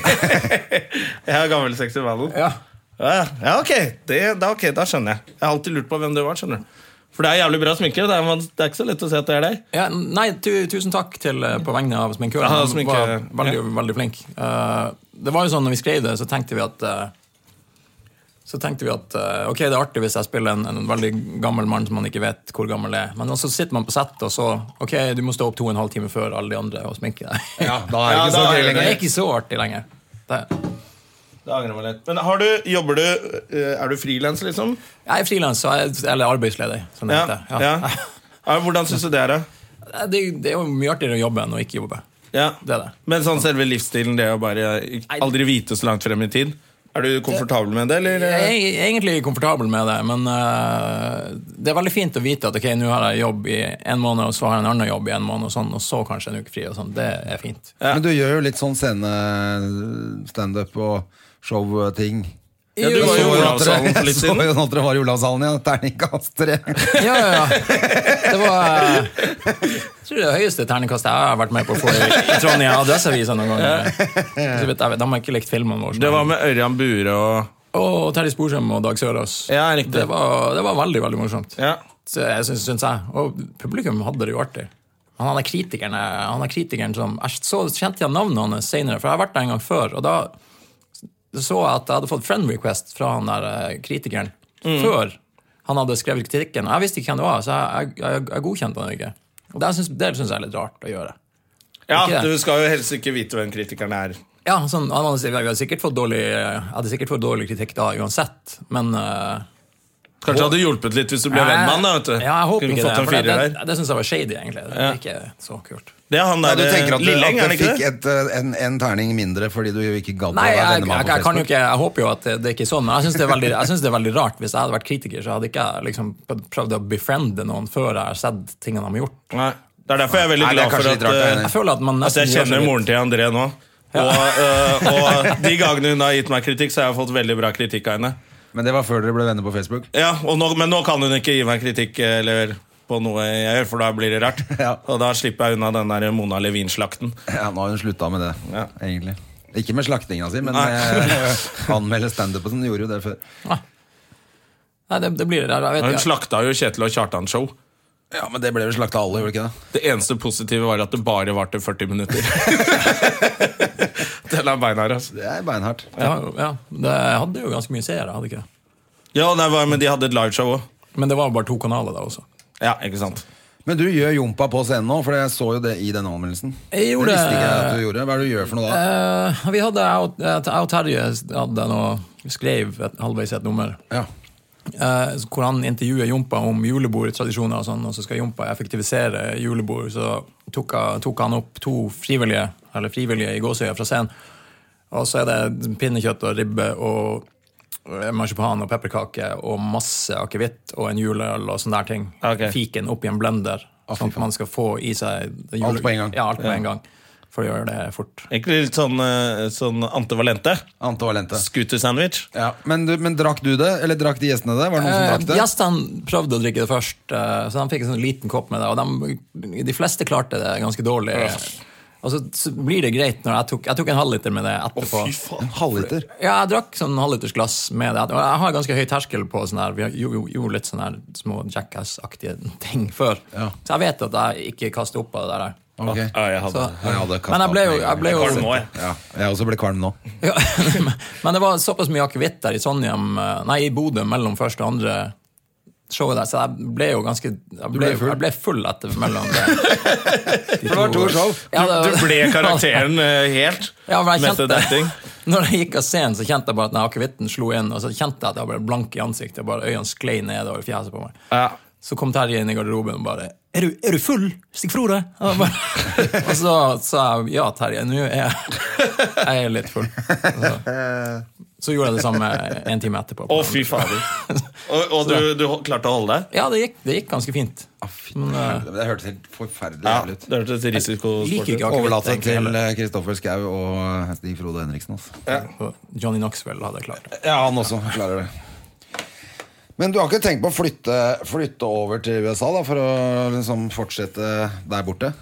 A: Jeg er gammel sexy mannen.
C: Ja.
A: Ja, ja ok. Det, da, ok, da skjønner jeg. Jeg har alltid lurt på hvem det var. skjønner du For det er jævlig bra sminke. Det er, man- det er ikke så lett å se at det er deg.
C: Ja, nei, tu, tusen takk til, eh, på vegne av sminkøren.
A: Ja,
C: Han
A: sminke-
C: var
B: eh,
C: veldig, veldig flink. Eh, det var jo sånn, når vi skrev det, så tenkte vi at eh, så tenkte vi at eh, ok, det er artig hvis jeg spiller en, en veldig gammel mann som man ikke vet hvor gammel er. Men så sitter man på settet, og så ok, du må stå opp to og en halv time før alle de andre og sminke deg.
B: Ja, da er det
A: Ja,
B: ikke
A: da
B: så
A: er
B: gøy
A: det
C: det
B: lenger.
C: er ikke så artig lenger. Det,
A: Det angrer jeg meg litt. Men har du, jobber du eh, Er du frilans, liksom?
C: jeg er frilans, eller arbeidsledig, som det heter.
A: ja. Ja, Hvordan syns du det er, da?
C: Det, det er jo mye artigere å jobbe enn å ikke jobbe.
A: Ja.
C: Det er det.
A: Men sånn selve livsstilen, det å bare aldri vite så langt frem i tid Er du komfortabel med det, eller? eh?
C: Jeg er egentlig komfortabel med det, men eh, det er veldig fint å vite at ok, nå har jeg jobb i en måned, og så har jeg en annen jobb i en måned, og sånn, og så kanskje en uke fri. og sånn, Det er fint.
B: Men du gjør jo litt sånn scenestandup og showting.
A: Ja, du
C: Jo,
A: var
B: Så sånn.
A: jo altså. i
B: jo at
A: Olavshallen for
B: dere-
A: litt
B: så
A: siden.
B: jo at dere var i Olavshallen, ja. Terningkast tre.
C: Ja, ja, ja. Det var eh, Jeg tror det er det høyeste terningkastet jeg har vært med på å få i, i Trondheim Adresseavisa noen gang. Så vidt jeg vet, De har ikke likt filmen vår.
A: Det var med Ørjan Bure og
C: Og Terje Sporsem og Dag Sørås.
A: Ja, riktig.
C: Det var, det var veldig, veldig morsomt.
A: Ja.
C: Så jeg synes, synes jeg. Og publikum hadde det jo artig. Men han er kritikeren, er- han er kritikeren som Jeg så kjente jeg navnet hans senere, for jeg har vært der en gang før. Og da så jeg at jeg hadde fått friend request fra han der eh, kritikeren før han hadde skrevet kritikken. Jeg visste ikke hvem det var, så jeg, jeg, jeg, jeg godkjente han ikke. Og det syns, det synes jeg er litt rart å gjøre.
A: Ja,
C: Ikke
A: Du
C: det.
A: skal jo helst ikke vite hvem kritikeren er.
C: Ja, sånn, han hadde, vi hadde sikkert fått dårlig, jeg hadde sikkert fått dårlig kritikk da uansett, men eh,
A: Kanskje det hadde hjulpet litt hvis du ble venn med han. da, vet du.
C: Ja, jeg håper
A: Kunne
C: ikke det.
A: fått en
C: for Det,
A: firer
C: det,
A: der.
C: det, syns jeg var shady, egentlig. Det
A: Ja.
C: er ikke så kult.
A: Det er han
B: Ja,
A: der
B: du tenker at du,
A: Lilleng, er
B: at
A: det
B: du
A: ikke
B: fikk
A: det?
B: et, eh, en, en terning mindre fordi du ikke gadd å
C: Nei,
B: være
C: jeg,
B: venner
C: jeg,
B: med ham på
C: jeg, kan jo
B: Facebook?
C: ikke, jeg håper jo at det, det ikke er sånn, men jeg syns det, er veldig- jeg synes det er veldig rart. Hvis jeg hadde vært kritiker, så hadde ikke jeg liksom prøvd å befriende noen før jeg har sett tingene de har gjort.
A: Nei. Det er derfor jeg er veldig
B: Nei, det
A: glad
B: er
A: for
B: kanskje
A: at
B: litt
A: eh,
B: rart, jeg er enig.
C: Jeg føler at man
A: Altså, jeg
C: nesten gjør så
A: kjenner
C: litt-
A: moren til André nå. Og, øh, og de gangene hun har gitt meg kritikk, så har jeg fått veldig bra kritikk av henne.
B: Men det var før dere ble venner på Facebook?
A: Ja, og nå, Men nå kan hun ikke gi meg kritikk eh, eller på noe jeg gjør, for da blir det rart.
B: Ja.
A: Og da slipper jeg unna den der Mona Levin-slakten.
B: Ja, nå har hun slutta med det,
A: Ja.
B: egentlig. Ikke med slaktinga si, men
A: Nei.
B: eh, anmelde standupen. Hun gjorde jo det før.
C: Nei, det, det blir det. Jeg
A: Hun
C: vet ikke.
A: slakta jo Kjetil og Kjartan-show.
B: Ja, men det ble vel slakta alle, gjorde det ikke det?
A: Det eneste positive var at det bare varte 40 minutter. den er beinhard, altså.
B: Det er beinhardt.
C: Ja, ja, det jeg hadde jo ganske mye seere, hadde ikke det?
A: Ja, nei, hva- men de hadde et liveshow òg.
C: Men det var jo bare to kanaler da også.
A: Ja, ikke sant.
B: Men du gjør jompa på scenen nå, for jeg så jo det i den anmeldelsen.
C: Jeg gjorde-
B: Det visste ikke jeg at du gjorde. Hva er det du gjør for noe da?
C: Eh, vi hadde, jeg og- jeg og Terje hadde noe, skrev et, halvveis et nummer
B: Ja.
C: eh, hvor han intervjuer Jompa om julebordtradisjoner og sånn, og så skal Jompa effektivisere julebord. Så tok, han- tok han opp to frivillige, eller frivillige i gåsøya fra scenen. Og så er det pinnekjøtt og ribbe og eh, marsipan og pepperkake og masse akevitt og en juleøl og sånne der ting.
A: Ok.
C: Fiken opp i en blender, sånn at man skal få i seg jule-
B: Alt på en gang.
C: Ja, alt på en gang. For å gjøre det fort.
A: Egentlig litt sånn, eh, sånn antivalente.
B: Ante Valente.
A: Scooter-sandwich.
B: Ja. Men, du, men drakk du det? Eller drakk de gjestene det? Var det noen som
C: Eh,
B: drakk det?
C: Gjestene prøvde å drikke det først, eh, så de fikk en sånn liten kopp med det. Og de, de fleste klarte det ganske dårlig. Og så, så blir det greit når jeg tok, jeg tok en halvliter med det etterpå.
B: En halvliter.
C: ja, jeg drakk sånn halvliters glass med det. Og jeg har ganske høy terskel på sånn her. Vi har jo, jo, gjorde litt sånn her små jackass-aktige ting før.
B: Ja.
C: Så jeg vet at jeg ikke kaster opp av det der.
B: Ok.
A: Ja, jeg hadde.
C: Så,
B: Jeg hadde kastet
C: men jeg
B: opp
C: ble jo,
B: med en
C: jeg ble
B: gang.
A: Kvalm
C: jo
A: nå, jeg.
B: Ja, jeg også ble kvalm nå.
C: Ja, men det var såpass mye akevitt der i Trondheim, eh, nei, i Bodø mellom første og andre showet der, så jeg ble jo ganske Jeg ble,
B: ble full?
C: jeg ble full etter mellom
B: For
C: det.
B: det var to show.
C: Ja, det-
A: Du ble karakteren eh, helt.
C: Ja, men jeg
A: Method acting.
C: kjente, når jeg gikk av scenen, så kjente jeg bare at den akevitten slo inn, og så kjente jeg at jeg ble blank i ansiktet, bare øynene sklei nedover fjeset på meg.
A: Ja.
C: Så kom Terje inn i garderoben og bare er du, er du full? Stikk fra deg! Og, jeg bare, og så sa jeg ja, Terje, nå er jeg, jeg er litt full. Så, så gjorde jeg det samme en time etterpå.
A: Å, fy fader. Og, og du, du ho- klarte å holde deg?
C: Ja, det gikk, det gikk ganske fint. Men, eh,
B: Ah, Det hørtes helt forferdelig
A: Ja,
B: jævlig ut.
A: det hørtes risikosport
C: Liker
A: ut.
C: ikke akevitt,
B: Overlate
C: egentlig,
B: til
C: heller.
B: eh, Kristoffer Schau og eh, Stig Frode Henriksen. Altså.
C: Så Johnny Knoxville hadde klart det.
B: Ja, han også klarer det. Men du har ikke tenkt på å flytte, flytte over til USA da, for å liksom fortsette der borte?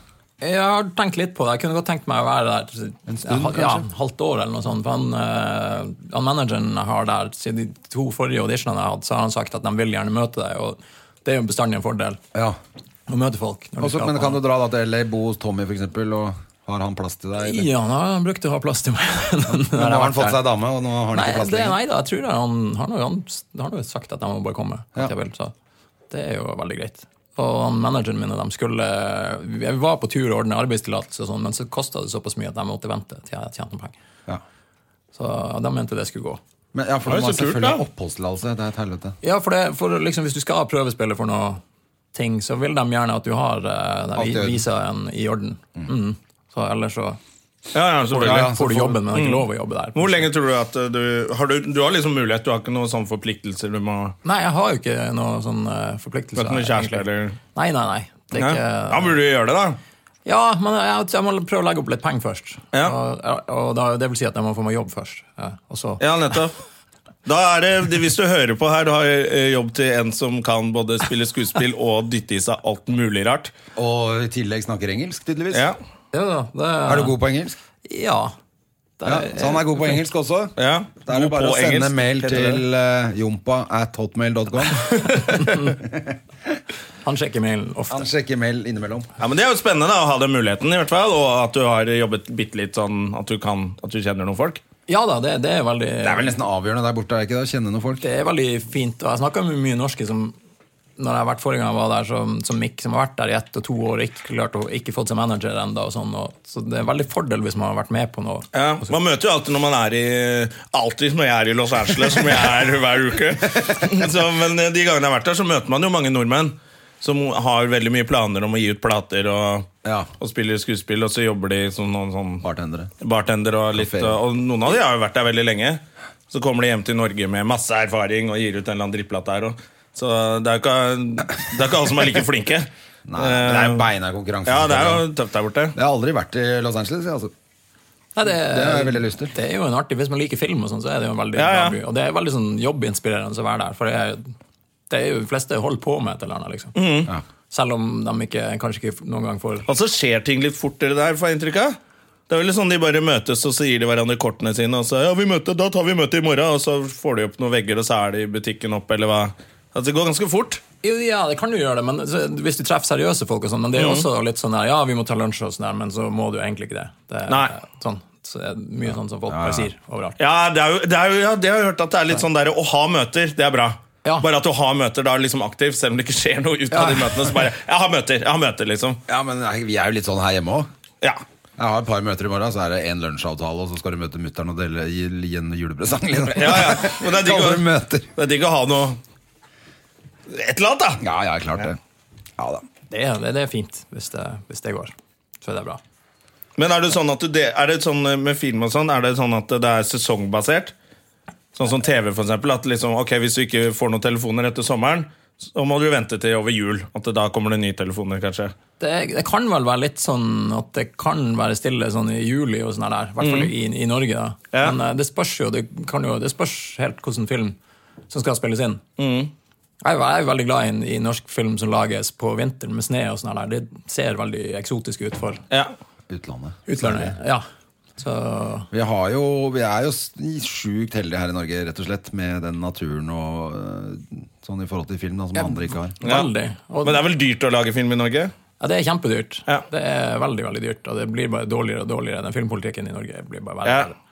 C: Jeg har tenkt litt på det. Jeg kunne godt tenkt meg å være der en
B: stund,
C: ja,
B: kanskje?
C: halvt år eller noe sånt. For han, eh, han manageren jeg har der, siden de to forrige auditionene jeg har hatt, så har han sagt at de vil gjerne møte deg, og det er jo bestandig en fordel
B: Ja.
C: å møte folk. når du
B: Også,
C: skal
B: men
C: på-
B: kan du dra da til LA, bo hos Tommy f.eks., og har han plass til deg? eller?
C: Ja, han har brukt å ha plass til meg. Men
B: Men nå har han fått seg dame, og nå har han
C: Nei,
B: ikke plass
C: det,
B: lenger.
C: nei da, jeg tror det. Han har nå han, har nå sagt at jeg må bare komme.
B: Ja.
C: at Jeg vil, så det er jo veldig greit. Og han manageren min og de skulle Jeg var på tur og ordne arbeidstillatelse, og sånn, men så kosta det såpass mye at jeg måtte vente til jeg tjente noen penger.
B: Ja.
C: Så de mente det skulle gå.
B: Men, ja, for
A: Det er
B: du må
A: så kult,
B: selvfølgelig
A: da.
B: ha oppholdstillatelse. Det er et helvete.
C: Ja, for, det, for liksom, hvis du skal prøvespille for noe ting, så vil de gjerne at du har eh,
B: Alt i
C: den
B: orden.
C: visaen i orden. Mm. Så ellers så
A: Ja, ja, selvfølgelig.
B: Ja, ja. så
C: får du
B: får- Mm.
C: jobben, men det er ikke lov å jobbe der.
A: Hvor lenge tror du at eh, du har, du, du har liksom mulighet, du har ikke noen sånne forpliktelser du må
C: Nei, jeg har jo ikke noen sånn eh,
A: Du
C: forpliktelse.
A: har ikke noen kjæreste,
C: egentlig.
A: eller?
C: Nei, nei, nei. Det er
A: Nei?
C: ikke...
A: Ja, burde du gjøre det, da?
C: Ja, men jeg, jeg må prøve å legge opp litt penger først.
A: Ja.
C: Og, og da, det vil si at jeg må få meg jobb først. Ja, og så
A: Ja, nettopp. Da er det, det- Hvis du hører på her, du har eh, jobb til en som kan både spille skuespill og dytte i seg alt mulig rart.
B: Og i tillegg snakker engelsk, tydeligvis.
A: Ja,
C: Ja, da, det,
B: Er du god på engelsk?
C: Ja. Det,
B: Ja, så han er god på engelsk også?
A: ja.
B: Da er det
A: God
B: bare
A: på
B: å sende
A: engelsk,
B: mail
A: heter det.
B: til uh, jompa at hotmail.com.
C: Han sjekker mailen ofte.
B: Han sjekker mail innimellom.
A: Ja, men Det er jo spennende da, å ha den muligheten, i hvert fall, og at du har jobbet bitte litt sånn at du, kan, at du kjenner noen folk.
C: Ja da, det, det er veldig
B: Det er vel nesten avgjørende der borte, er det ikke det? Å kjenne noen folk.
C: det er veldig fint. Og jeg snakker med mye norske som når jeg har vært forrige gang jeg var der som, som Mick, som har vært der i ett og to år og ikke klart å ikke fått seg manager ennå. Sånn, og- så det er veldig fordel hvis man har vært med på noe.
A: Ja,
C: Og så-
A: man møter jo alltid når man er i Alltid når jeg er i Los Angeles, som jeg er hver uke. Så, men de gangene jeg har vært der, så møter man jo mange nordmenn som har veldig mye planer om å gi ut plater og,
B: Ja.
A: og spiller skuespill, og så jobber de som noen sånn
B: Bartendere.
A: bartender og litt
B: Kaféer.
A: Og noen av de har jo vært der veldig lenge. Så kommer de hjem til Norge med masse erfaring og gir ut en eller annen drittplate her. Og, så det er jo ikke, det er ikke alle som er like flinke.
B: Nei, men det er jo beina konkurranse.
A: Ja, det er jo tøft der borte.
B: Jeg har aldri vært i Los Angeles. jeg, Altså.
C: Nei, det,
B: Det har jeg veldig lyst til.
C: det er jo en artig Hvis man liker film, og sånn, så er det jo en veldig
A: Ja, ja.
C: bra by. Og det er veldig sånn jobbinspirerende å være der. For det er, det er jo de fleste holder på med et eller annet. liksom
A: Mm.
B: Ja.
C: Selv om de ikke, kanskje ikke noen gang får
A: Og så skjer ting litt fortere der, får jeg inntrykk av. Det er vel sånn De bare møtes og så gir de hverandre kortene sine. Og så ja, vi møter, da tar vi møte i morgen Og så får de opp noen vegger, og så er de i butikken opp, eller hva. Altså, Det går ganske fort.
C: Jo, Ja, det kan du gjøre, det men så- hvis du treffer seriøse folk og sånn. Men det
A: Mm.
C: er jo også litt sånn der, ja, vi må ta lunsj og sånn der, men så må du jo egentlig ikke det. det er,
A: Nei.
C: Sånn, så er det mye sånn som folk bare sier overalt.
A: Ja, det er jo, det er jo ja, det har jeg hørt at det er litt sånn der å ha møter. Det er bra.
C: Ja.
A: Bare at du har møter da liksom aktiv, selv om det ikke skjer noe ut av
C: Ja.
A: de møtene. Så bare, jeg har møter, jeg har møter, liksom.
B: ja, men nei, vi er jo litt sånn her hjemme òg.
A: Ja.
B: Jeg har et par møter i morgen, så er det én lunsjavtale, og så skal du møte mutter'n og dele gi gi en julepresang. Liksom.
A: Ja, ja. Men det er digg å-
B: Kaller det møter.
A: Det er digg å ha noe Et eller annet, da.
B: Ja, ja, klart det. Ja da.
C: Det, er- det, det er fint, hvis det, hvis det går. Så er det bra.
A: Men er det sånn at du, det- er det sånn med film og sånn, er det sånn at det er sesongbasert? Sånn som TV for eksempel, at liksom, ok, hvis du ikke får noen telefoner etter sommeren, så må du vente til over jul, at det da kommer det nye telefoner kanskje.
C: det, det kan vel være litt sånn at det kan være stille sånn i juli og sånn der, i hvert fall i, i Norge. da.
A: Mhm. Ja.
C: Men eh, det spørs jo, det, kan jo, det spørs helt hvilken film som skal spilles inn.
A: Mhm.
C: Jeg er jo- jeg er jo veldig glad i, en- i norsk film som lages på vinteren med snø. og sånn der. Det ser veldig eksotisk ut for
A: Ja.
B: Utlandet.
C: utlandet. Ja. Så,
B: Vi, har jo, vi er jo s- sjukt heldige her i Norge, rett og slett, med den naturen og øh, sånn i forhold til film da, som andre ikke har.
A: Ja.
C: veldig. Og,
A: Men det er vel dyrt å lage film i Norge?
C: ja, det er kjempedyrt.
A: Ja.
C: Det er veldig veldig dyrt, og det blir bare dårligere og dårligere. Den filmpolitikken i Norge blir bare verre.
A: Ja.
C: og verre.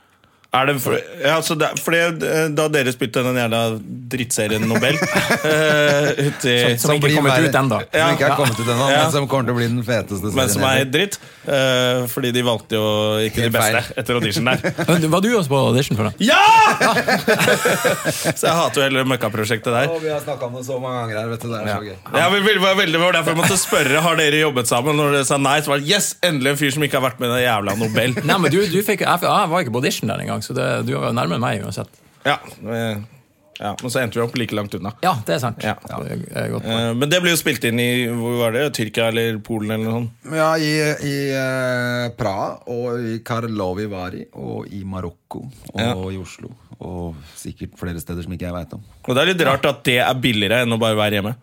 A: Er det for, ja, altså det, fordi eh, da dere spilte den jævla drittserien Nobel eh, uti,
C: Som, som ikke
B: blir
C: er kommet
B: verre-
C: ut ennå.
B: Som ikke er kommet ut ennå,
A: Ja.
B: men som kommer til å bli den feteste
A: Men som er
B: serien.
A: dritt. eh, fordi de valgte jo ikke de
B: Helt feil.
A: beste etter audition der.
C: Var du også på audition for det?
A: Ja! så jeg hater jo hele møkkaprosjektet der.
B: Å, vi har snakka om det så mange ganger her, vet du. Det er så gøy.
A: Ja, men det var veldig det var derfor jeg måtte spørre Har dere jobbet sammen. Når dere sa nei, så var det yes, endelig en fyr som ikke har vært med i den jævla Nobel.
C: Nei, men du, du fikk, jeg, jeg var ikke på audition der engang, så det, du var jo nærmere meg uansett.
A: Ja, eh, ja, Men så endte vi opp like langt unna.
C: Ja, det er sant.
A: Ja.
C: Så Det er godt.
A: Eh, men det ble jo spilt inn i hvor var det, Tyrkia eller Polen eller noe sånt.
B: Ja, i, i eh, Praha og i Karlovy Vary og i Marokko og
A: Ja.
B: i Oslo. Og sikkert flere steder som ikke jeg veit om.
A: Og det er litt rart at det er billigere enn å bare være hjemme.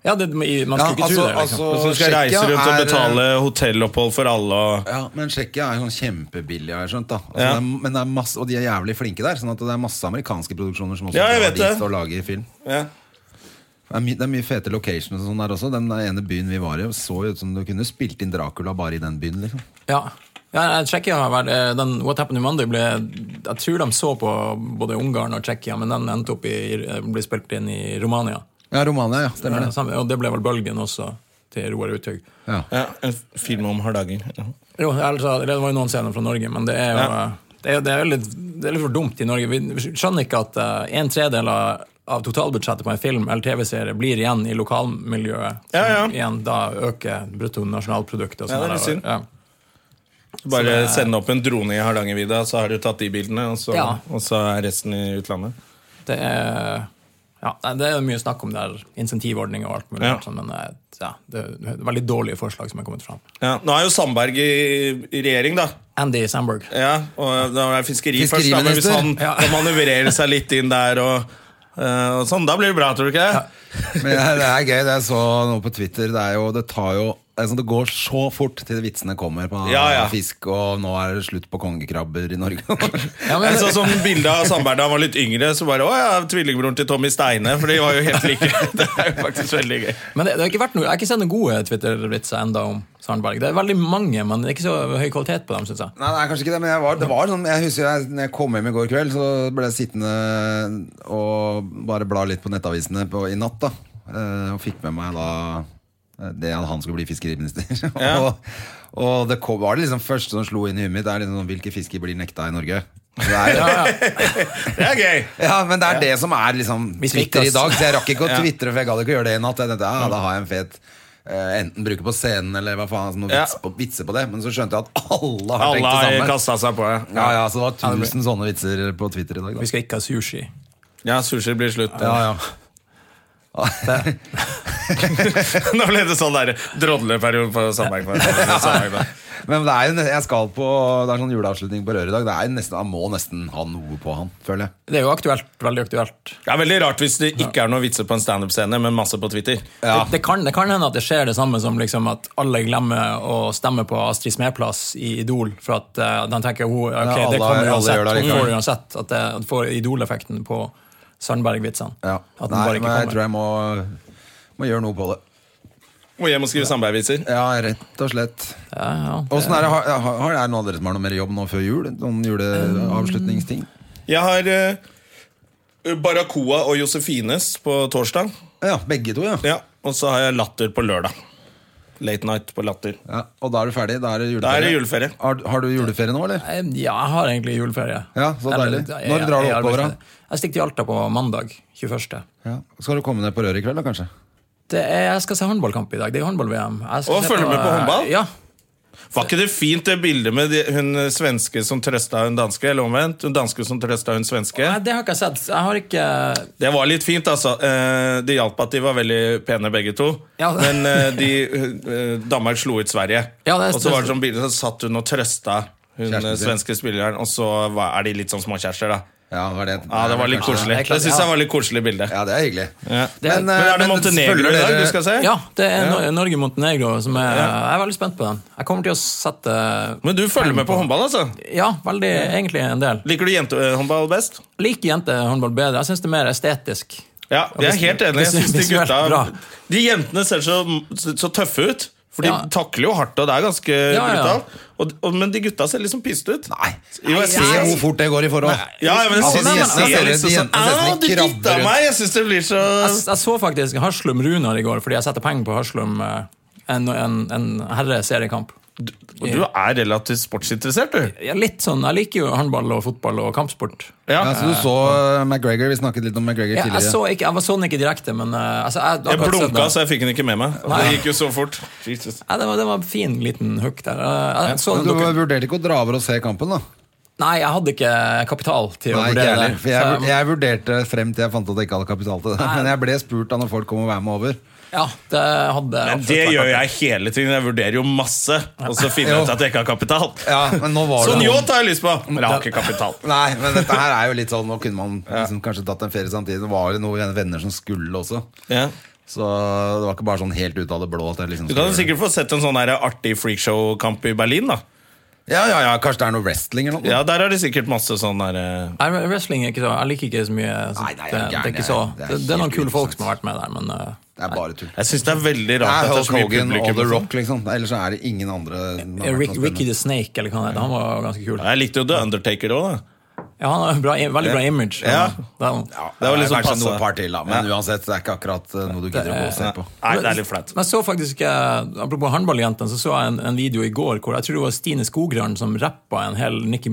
C: Ja, det, i- man skulle ikke
B: altså,
C: tro det. Liksom.
A: Og eh, så skal reise rundt og betale hotellopphold for alle og
B: Ja, men Tsjekkia er jo sånn kjempebillig, har jeg skjønt. da altså,
A: Ja.
B: det er, Men det er masse, Og de er jævlig flinke der, sånn at det er masse amerikanske produksjoner som også
A: Ja, jeg
B: drar
A: vet
B: dit
A: det.
B: og lager film.
A: ja.
B: Det er, my, det er mye fete locations og sånn der også. Den ene byen vi var i, så jo ut som du kunne spilt inn Dracula bare i den byen, liksom.
C: Ja. Ja, jeg- Tsjekkia har vært eh, den What Happened to Monday ble Jeg tror de så på både Ungarn og Tsjekkia, men den endte opp i, ble spilt inn i Romania.
B: Ja, Romania, ja. Stemmer det.
C: Samme- Og det ble vel bølgen også, til Roar Uthaug.
B: Ja.
A: Ja, En film om Hardanger.
C: Jo, altså, det var jo noen scener fra Norge, men det er jo
A: Ja.
C: det er, det er, litt, det er litt for dumt i Norge. Vi skjønner ikke at eh, en tredel av, av totalbudsjettet på en film eller TV-serie blir igjen i lokalmiljøet. Som
A: Ja, ja.
C: igjen da øker bruttonasjonalproduktet. og sånn
A: Ja, det er
C: sånne
A: litt synd.
C: der, og-
A: Bare sende opp en drone i Hardangervidda, så har du tatt de bildene, og så,
C: Ja.
A: og så er resten i utlandet.
C: Ja. Det er... Ja, nei, det er jo mye snakk om der insentivordninger og alt mulig,
A: Ja.
C: sånt, men eh, ja, det er et veldig dårlige forslag som er kommet fram.
A: Ja, nå er jo Sandberg i, i regjering, da.
C: Andy Sandberg.
A: Ja, og da er fiskeri først, da, men hvis
B: Fiskeriminister.
A: han
C: Ja.
A: kan manøvrere seg litt inn der og, eh, og sånn, da blir det bra, tror du ikke?
B: Men det er- det er gøy. Det jeg så noe på Twitter. Det, er jo, det tar jo det, er sånn, det går så fort til vitsene kommer på
A: Ja, ja.
B: fisk, og nå er det slutt på kongekrabber i Norge.
C: Ja, men-
A: Jeg så sånn bilde av Sandberg da han var litt yngre, så bare Å ja, tvillingbroren til Tommy Steine, for de var jo helt like. Det er jo faktisk veldig gøy.
C: Men det, det har ikke vært noe, Jeg har ikke sett noen gode Twitter-vitser enda om Sandberg. Det er veldig mange, men det er ikke så høy kvalitet på dem, syns jeg.
B: Nei, det er kanskje ikke det, men jeg var, det var sånn Jeg husker jeg, når jeg kom hjem i går kveld, så ble jeg sittende og bare bla litt på nettavisene på, i natt. da eh, og fikk med meg da eh, det at han skulle bli fiskeriminister. og, og det kom, var det liksom første som slo inn i huet mitt, det er liksom sånn, hvilke fisker blir nekta i Norge? Det er, ja,
A: Det er gøy!
B: men det er det som er liksom
C: Vi fikk
B: Twitter i
C: oss.
B: dag, så jeg rakk ikke å twitre, for jeg gadd ikke å gjøre det i natt. Jeg tenkte, ja, da har jeg en fet eh, Enten bruke på scenen eller hva faen, altså, noen
A: Ja.
B: vits på, vitser på det. Men så skjønte jeg at alle har
A: Alle
B: tenkt det
A: har
B: samme.
A: kasta seg på. ja.
B: Ja, ja, så det var tusen sånne vitser på Twitter i dag.
C: Vi
B: Da.
C: skal ikke ha sushi.
A: Ja, sushi blir slutt.
B: Ja, ja.
A: Nå ble det sånn der drodleperiode på Sandberg. Sandberg.
B: Men det er jo, ne- jeg skal på Det er sånn juleavslutning på Røret i dag. Det er jo nesten, Jeg må nesten ha noe på han, føler jeg.
C: Det er jo aktuelt, veldig aktuelt.
A: Det er veldig rart hvis det ikke er noen vitser på en standup-scene, men masse på Twitter.
B: Ja.
C: Det, det, kan, det kan hende at det skjer det samme som liksom at alle glemmer å stemme på Astrid Smeplass i Idol, for at eh, de tenker hun, ok,
B: alle-
C: det kommer
B: alle
C: uansett,
B: gjør det
C: hun
B: likevel.
C: får det uansett, at det at får Idol-effekten på Sandberg-vitsene.
B: Ja.
C: At den
B: Nei,
C: bare
B: men
C: ikke
B: jeg tror
C: kommer.
B: jeg må, må gjøre noe på det.
A: Må hjem og skrive Sandberg-vitser.
B: Ja, rett og slett.
C: Ja, ja.
B: Åssen er det, har, har, har- er det noen av dere som har noe mer jobb nå før jul? Noen
C: Um,
B: juleavslutningsting?
A: Jeg har eh, Barracoa og Josefines på torsdag.
B: Ja, begge to, ja.
A: Ja, Og så har jeg Latter på lørdag. Late night på Latter.
B: ja. Og da er du ferdig? Da er
A: Da
B: det juleferie?
A: er det juleferie.
B: Har, har du juleferie nå, eller?
C: Eh, Ja, jeg har egentlig juleferie.
B: Ja, så deilig. Når
C: jeg-
B: drar du
C: jeg er
B: oppover, da?
C: arbeidsledig. Jeg stikker til Alta på mandag 21.
B: Ja. Skal du komme ned på Røret i kveld, da, kanskje?
C: Det er, jeg skal se håndballkamp i dag. Det er jo håndball-VM. Jeg skal
A: Å,
C: se
A: følger du med på håndball?
C: Ja.
A: Var ikke det fint det bildet med de, hun eh, svenske som trøsta hun danske? Eller omvendt, hun danske som trøsta hun svenske?
C: Nei, det har ikke jeg sett. Jeg har ikke
A: Det var litt fint, altså. Eh, Det hjalp at de var veldig pene begge to.
C: Ja.
A: Men eh, de, eh, Danmark slo ut Sverige.
C: Ja, det er-
A: og så var det sånn bilde, så satt hun og trøsta hun
B: Kjæresten
A: eh,
B: sin.
A: svenske spilleren, og så var, er de litt sånn småkjærester, da.
B: Ja, det var det.
A: Ja, det var litt
B: kanskje-
A: koselig.
C: det er klart,
A: Det syns
C: ja.
A: jeg var litt koselig bilde.
B: Ja, det er hyggelig. eh,
A: Ja.
C: Det-
A: Men eh, er det Montenegro i
B: følger
A: dag
B: dere-
A: du skal se?
C: Ja, det er Nor- Norge-Montenegro som er Jeg er veldig spent på den. Jeg kommer til å sette
A: Men du følger med på håndball, altså?
C: Ja, veldig, egentlig en del.
A: Liker du jentehåndball best?
C: Liker jentehåndball bedre. Jeg syns det er mer estetisk.
A: Ja, jeg er
C: hvis-
A: helt enig. Jeg
C: hvis-
A: synes de
C: visuelt
A: gutta
C: bra.
A: De jentene ser så, så tøffe ut. For de
C: Ja.
A: takler jo hardt, og det er ganske
C: Ja, ja.
A: brutalt. Og, og, men de gutta ser liksom piste ut.
B: Nei.
A: Jo, jeg
B: Se
A: ser
B: hvor fort det går i forhold.
A: Ja, ja, men jeg
B: Altså,
A: synes
B: de
A: jeg
B: jentene
A: ser liksom
B: ser- de
A: sånn
B: jentene ser
A: Au,
B: sånn
A: du
B: krabber
A: dytta
B: rundt.
A: meg! Jeg syns det blir så
C: Jeg, jeg så faktisk Haslum Runar i går fordi jeg setter penger på Haslum. eh, En, en, en herreseriekamp.
A: Og Du er relativt sportsinteressert, du.
C: Jeg er litt sånn, jeg liker jo håndball og fotball og kampsport.
A: Ja.
B: Ja, så du så uh, McGregor, vi snakket litt om McGregor
C: Jeg, jeg,
B: tidligere.
C: så ikke, jeg var sånn ikke direkte, men eh, altså, jeg,
A: Jeg
C: akkurat sett
A: blunka,
C: den.
A: så jeg fikk den ikke med meg. Det
C: Nei.
A: gikk jo så fort. Jesus.
C: ja, det, var, det var en fin liten hook der. Eh, Jeg, så
B: Men
C: den
B: du
C: dokum-
B: vurderte ikke å dra over og se kampen, da?
C: Nei, jeg hadde ikke kapital til å
B: Nei, ikke
C: vurdere det.
B: heller. For jeg,
C: Så
B: vur- jeg vurderte frem til jeg fant ut at jeg ikke hadde kapital til det. Men jeg ble spurt da når folk kom og var med over.
C: ja, det hadde
A: Men det gjør jeg hele tiden. Jeg vurderer jo masse, og så finner jeg ut at jeg ikke har kapital.
B: Ja, men nå var det
A: Sånn
B: noen-
A: yacht har jeg lyst på, men jeg har ikke kapital.
B: Nei, men dette her er jo litt sånn Nå kunne man liksom kanskje tatt en ferie samtidig. Det var jo noen venner som skulle også.
A: Ja.
B: Så det var ikke bare sånn helt ut av det blå. At jeg liksom
A: Du kan jo
B: skulle-
A: sikkert få sett en sånn her artig freakshow-kamp i Berlin. da
B: Ja, ja, ja, Kanskje det er noe wrestling eller noe?
A: Ja, Der er det sikkert masse sånn der eh,
C: Nei, men Wrestling er ikke så Jeg liker ikke så mye. Så
B: Nei, nei, jeg er
C: det, det, er
B: gæren,
C: ikke så,
B: jeg. Det
C: det,
B: er
C: det er noen
B: helt
C: kule folk
B: uinteressant.
C: som har vært med der, men eh,
B: Det er bare tull. Det
A: Jeg syns det er veldig
B: er
A: rart at det er
B: Hulk
A: så mye
B: Hogan og The
A: publikum. og sånn.
B: Rock, liksom. Ellers er det ingen andre. som har vært
C: Rick,
B: noe
C: Ricky
B: spennende.
C: the Snake, eller hva han heter, han var jo ganske kul.
A: Jeg likte jo The Undertaker òg, da.
C: Ja, han har en bra, veldig bra image.
A: Ja.
C: Den-
B: Ja,
A: Det var liksom
B: kanskje
A: passe.
B: noe par til, da. Men uansett, det er ikke akkurat eh, noe du gidder å gå og se på.
A: Nei, det er litt flaut.
C: Men jeg så faktisk, eh, Apropos håndballjentene, så så jeg en, en video i går hvor jeg tror det var Stine Skogran som rappa en hel Nicki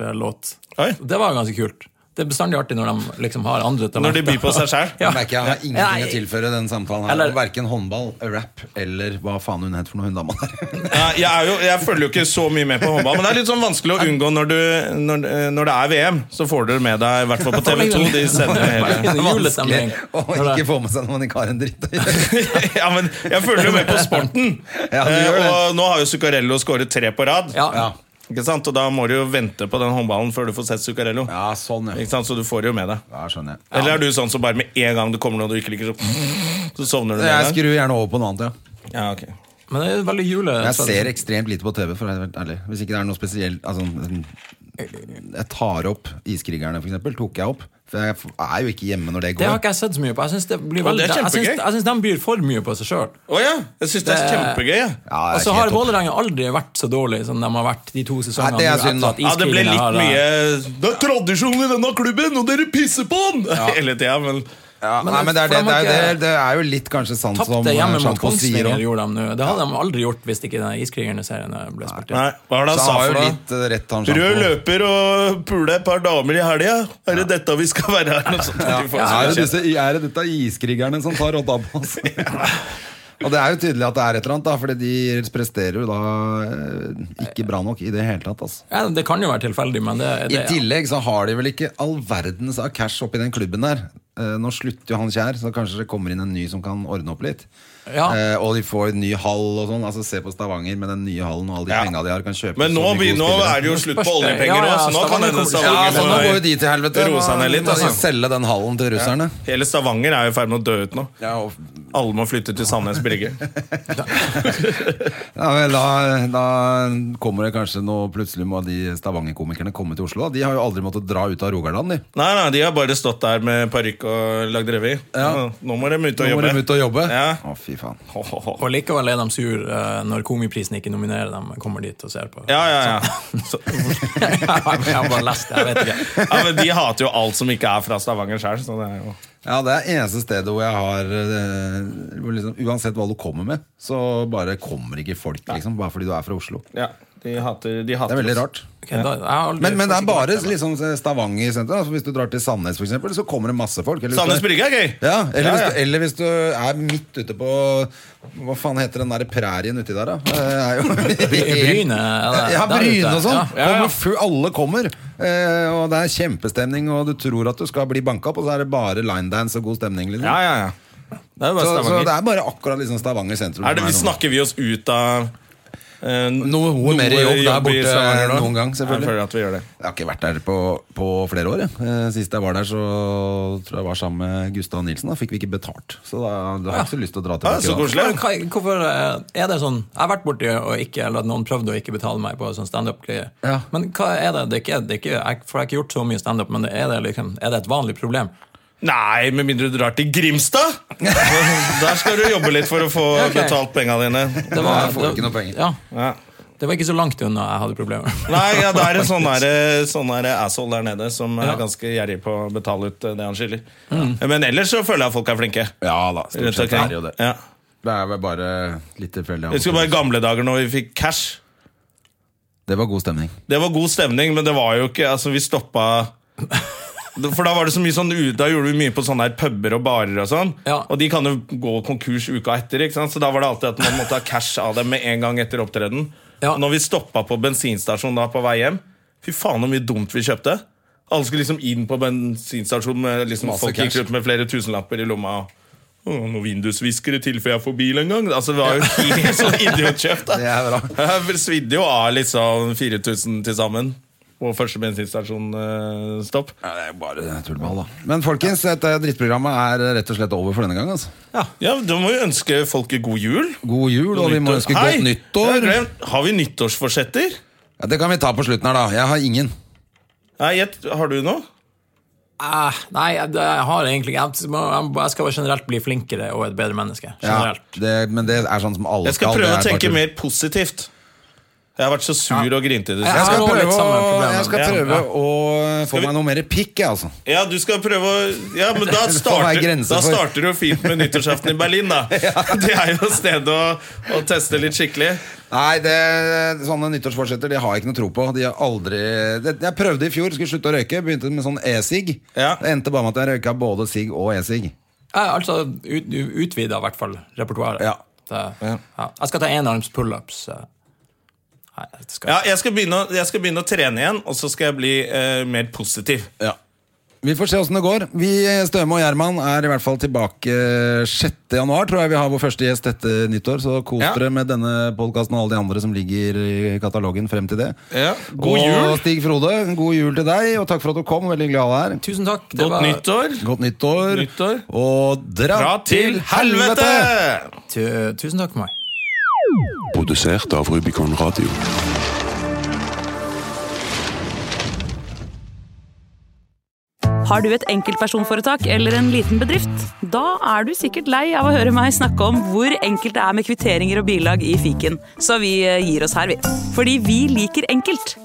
C: Minaj-låt.
A: Oi.
C: Det var jo ganske kult. Det er bestandig artig når de liksom har andre talenter.
A: Når de byr på seg sjæl.
C: Ja.
B: Jeg merker jeg har ingenting
C: Nei.
B: å tilføre den samtalen her.
C: Eller-
B: Verken håndball, rap eller hva faen hun het for noe, hun dama der.
A: Ja, jeg, er jo, jeg følger jo ikke så mye med på håndball, men det er litt sånn vanskelig å unngå når, du, når, eh, når det er VM. Så får du det med deg, i hvert fall på TV2. De sender jo
C: Det er
A: hele
C: ikke noe julestemning.
B: Vanskelig å
C: Når
B: ikke
C: det-
B: få med seg når man ikke har en dritt å gjøre.
A: Ja, men jeg følger jo med på sporten.
B: Ja, du
A: Eh,
B: gjør det.
A: Og nå har jo Zuccarello skåret tre på rad.
C: Ja.
B: Ja.
A: Ikke sant? Og da må du jo vente på den håndballen før du får sett Zuccarello.
B: ja, sånn, ja.
A: Ikke sant? Så du får det jo med deg.
B: Ja, skjønner jeg.
A: Eller er du sånn som bare med en gang det kommer noe du ikke liker, så, så sovner du med
B: Jeg
A: en gang?
B: skrur gjerne over på noe annet, ja.
A: Ja, ok.
C: Men det er veldig jule...
B: Jeg ser ekstremt lite på TV, for å være helt ærlig. Hvis ikke det er noe spesielt altså, Jeg tar opp Iskrigerne, for eksempel. Tok jeg opp. For jeg er jo ikke hjemme når det
C: Det har
B: går.
C: ikke jeg sett så mye på. Jeg synes det blir
A: Ja,
C: veldig,
A: det er
C: jeg synes-
A: kjempegøy.
C: Jeg syns de byr for mye på seg sjøl.
A: Å ja! Jeg syns det er kjempegøy. jeg.
B: Ja, jeg er
C: og så
B: ikke
C: har
B: helt opp.
C: Vålerenga aldri vært så dårlig som de har vært de to sesongene.
B: Nei, det er
C: nå
B: synd,
C: etter at
B: da.
A: Ja, det ble
C: iskrigerne
A: litt
C: har- eh,
A: mye Det er tradisjon i denne klubben, og dere pisser på den! Hele tida, men
B: Ja,
C: Men
B: nei,
C: det-
B: men det er,
C: for
B: det,
C: de
B: det,
C: har
B: er, det,
C: ikke-
B: er, det er jo litt kanskje sant som eh,
C: Tapte hjemme mot
B: Sjampo sier
C: Kongsvinger
B: òg.
C: gjorde de nå. Det hadde de aldri gjort hvis ikke den Iskrigerne-serien ble spilt inn.
A: Nei, hva er det
B: Så
A: han
B: han
A: sa
B: har
A: for
B: jo
A: noe?
B: litt eh, rett, han
A: Rød
B: Sjampo.
A: løper og pule et par damer i helga. Er det dette vi skal være her? Noe sånt. De får
B: Ja,
A: så
B: er, det
A: mye
B: disse, er det dette iskrigerne som tar rodda på oss? Og det er jo tydelig at det er et eller annet, da, fordi de presterer jo da eh, ikke bra nok i det hele tatt. Altså.
C: Ja, det kan jo være tilfeldig, men det,
B: I
C: det
B: tillegg så har de vel ikke all verdens av cash oppi den klubben der. Eh, Nå slutter jo han Kjær, så kanskje det kommer inn en ny som kan ordne opp litt.
C: Ja.
B: Eh, og de får en ny hall og sånn. Altså Se på Stavanger med den nye hallen og alle de
A: Ja.
B: penga de har. Kan kjøpe
A: Men nå,
B: så mye
A: vi,
B: gode
A: nå
B: spillere.
A: er det jo slutt på
C: Spørs det.
A: oljepenger
C: Ja,
A: òg,
C: ja,
A: så nå kan
C: Stavanger
A: hende
C: kommer-
A: Stavanger
B: ja, så nå
A: må-
B: går jo de til helvete.
A: Roe seg ned litt,
B: Nå må de
A: altså.
B: Selge den hallen til russerne.
A: Hele Stavanger er jo i ferd med å dø ut nå.
B: Ja, og,
A: Alle må flytte til Sandnes Brygge.
B: ja vel, da, da kommer det kanskje noe Plutselig må de Stavanger-komikerne komme til Oslo. da. De har jo aldri måttet dra ut av Rogaland, de.
A: Nei, nei, de har bare stått der med parykk og lagd revy.
B: Ja.
A: Nå må de ut og
B: Nå må
A: jobbe.
B: de ut og jobbe.
A: Ja.
B: Å, fy faen.
A: Ho, ho, ho.
C: Og likevel er de sur eh, når Komiprisen ikke nominerer dem. Kommer dit og ser på.
A: Ja, ja, ja. Så,
C: jeg har bare lest det, jeg vet ikke.
A: ja men de hater jo alt som ikke er fra Stavanger sjøl. Så det er jo
B: Ja, det er eneste stedet hvor jeg har eh, hvor liksom, Uansett hva du kommer med, så bare kommer ikke folk, liksom. Bare fordi du er fra Oslo.
A: Ja, de hater, de
B: Det
A: hater
B: er veldig
A: oss.
B: rart.
C: Ok, da, jeg har aldri-
B: Men, men det er bare
C: faktisk ikke vært
B: liksom, Stavanger sentrum. Altså, hvis du drar til Sandnes, for eksempel, så kommer det masse folk. Eller, hvis
A: Sandnes
B: du-
A: Brygge er gøy!
B: ja,
A: Ja,
B: eller,
A: ja.
B: Hvis du, eller hvis du er midt ute på Hva faen heter den der prærien uti der, da? Det er jo-
C: der. Bryne er det-
B: Ja,
C: der
B: Bryne og
C: ute.
B: sånn.
C: Ja, ja,
B: Kommer fu- alle kommer. Eh, og det er kjempestemning, og du tror at du skal bli banka opp, og så er det bare linedance og god stemning. Liksom.
A: Ja, ja, ja. Det er jo bare
B: Så, så
A: Stavanger.
B: det er bare akkurat liksom Stavanger sentrum.
A: Er det,
B: som er
A: vi
B: sånn.
A: snakker vi oss ut av eh,
B: Noe mer jobb der borte enn noen gang, selvfølgelig.
A: Jeg føler at vi gjør det.
B: Jeg har ikke vært der på, på flere år. Jeg. Eh, Sist jeg var der, så tror jeg jeg var sammen med Gustav Nilsen. Da fikk vi ikke betalt. Så da, da har jeg ikke så lyst til å dra
A: Ja, så
B: tilbake.
A: koselig.
C: Men hva- Hvorfor eh, er det sånn Jeg har vært borti og ikke Eller at noen prøvde å ikke betale meg på sånn standup-greier.
B: Ja.
C: Men hva er det? det, er ikke, det er ikke, jeg, for jeg har ikke gjort så mye standup, men er det, liksom, er det et vanlig problem?
A: Nei, med mindre du drar til Grimstad! Der skal du jobbe litt for å få
C: Ok.
A: betalt penga dine.
C: Det
B: jeg får ikke noe penger.
C: Ja,
A: Ja.
C: det var ikke så langt unna jeg hadde problemer.
A: Nei, ja, det er en sånn der- sånn der asshole der nede som er
C: Ja.
A: ganske gjerrig på å betale ut eh, det han skylder. Men ellers så føler jeg at folk er flinke.
B: Ja da, stort
A: Rett
B: sett er Mm. det jo
A: omkring.
B: det.
A: Ja.
B: Det er vel bare litt tilfeldig.
A: Jeg husker bare i gamle dager når vi fikk cash.
B: Det var god stemning.
A: Det var god stemning, men det var jo ikke Altså, vi stoppa For da var det så mye sånn u- Da gjorde vi mye på sånne her puber og barer og sånn.
C: Ja.
A: Og de kan jo gå konkurs uka etter, ikke sant? så da var det alltid at man måtte ha cash av dem med en gang etter opptreden.
C: Ja.
A: Når vi stoppa på bensinstasjonen da på vei hjem, fy faen så mye dumt vi kjøpte. Alle skulle liksom inn på bensinstasjonen med liksom
B: Masse
A: folk gikk
B: cash.
A: rundt med flere tusenlapper i lomma. og «Å, noen vindusviskere til før jeg får bil en gang. Altså, det var jo helt sånn idiotkjøpt. da.
B: Det er bra.
A: Jeg svidde jo av liksom 4000 til sammen på første eh, bensinstasjonstopp.
B: Ja, det er jo bare tullball, da. Men folkens, dette drittprogrammet er rett og slett over for denne gang. Altså.
A: Ja, Da må vi ønske folket god jul.
B: God jul, og vi må
A: Nyttår.
B: ønske
A: Hei!
B: godt
A: Jeg
B: nyttår.
A: har glemt. Har vi nyttårsforsetter?
B: Ja, det kan vi ta på slutten her, da. Jeg har ingen.
A: Nei, Gjett, har du noe?
C: Eh, nei, jeg, det- jeg har egentlig ikke jeg, må- jeg, jeg skal bare generelt bli flinkere og et bedre menneske.
B: Ja,
C: Generelt.
B: det, men det er sånn som alle
A: Jeg skal prøve
B: det
A: å
B: er bare
A: tenke
B: tull.
A: mer positivt. Jeg har vært så sur og grinte i det
C: Ja.
A: siste.
B: Jeg skal
C: Jeg har litt
B: prøve,
C: samme
B: å,
C: problemet.
B: jeg skal
A: Ja.
B: prøve å få
A: vi-
B: meg noe mer pikk, jeg, altså.
A: Ja, du skal prøve å Ja, men da
B: Det får være
A: starter,
B: grenser
A: da
B: for-
A: starter du jo fint med nyttårsaften i Berlin, da. Det er jo stedet å, å teste litt skikkelig.
B: Nei, det, sånne nyttårsforsetter De har jeg ikke noe tro på. De har aldri det, Jeg prøvde i fjor, skulle slutte å røyke. Begynte med sånn e-sigg.
A: Ja.
B: Det Endte bare med at jeg røyka både sigg og e-sigg.
C: Ja, altså ut, utvida i hvert fall repertoaret.
B: Ja.
C: Det, ja. Jeg skal ta enarms pullups. eh. Nei, det skal
A: Ja, jeg skal, begynne, å- jeg skal begynne å trene igjen, og så skal jeg bli eh, mer positiv.
B: Vi får se åssen det går. Vi, Støme og Gjerman er i hvert fall tilbake 6. januar, tror jeg vi har vår første gjest etter nyttår. Så kos
A: Ja.
B: dere med denne podkasten og alle de andre som ligger i katalogen frem til det.
A: Ja. God
B: Og
A: jul!
B: Stig Frode, god jul til deg, og takk for at du kom. Veldig glad her.
C: Tusen takk. det
A: Godt
C: var-
A: nyttår!
B: Godt nyttår.
A: Nyttår.
B: Og dra,
A: Dra til helvete!
C: Tu, tusen takk for meg.
D: Produsert av Rubicon Radio.
E: Har du et enkeltpersonforetak eller en liten bedrift? Da er du sikkert lei av å høre meg snakke om hvor enkelt det er med kvitteringer og bilag i fiken, så vi eh, gir oss her, vi. Fordi vi liker enkelt.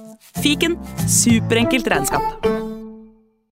E: Fiken superenkelt regnskap.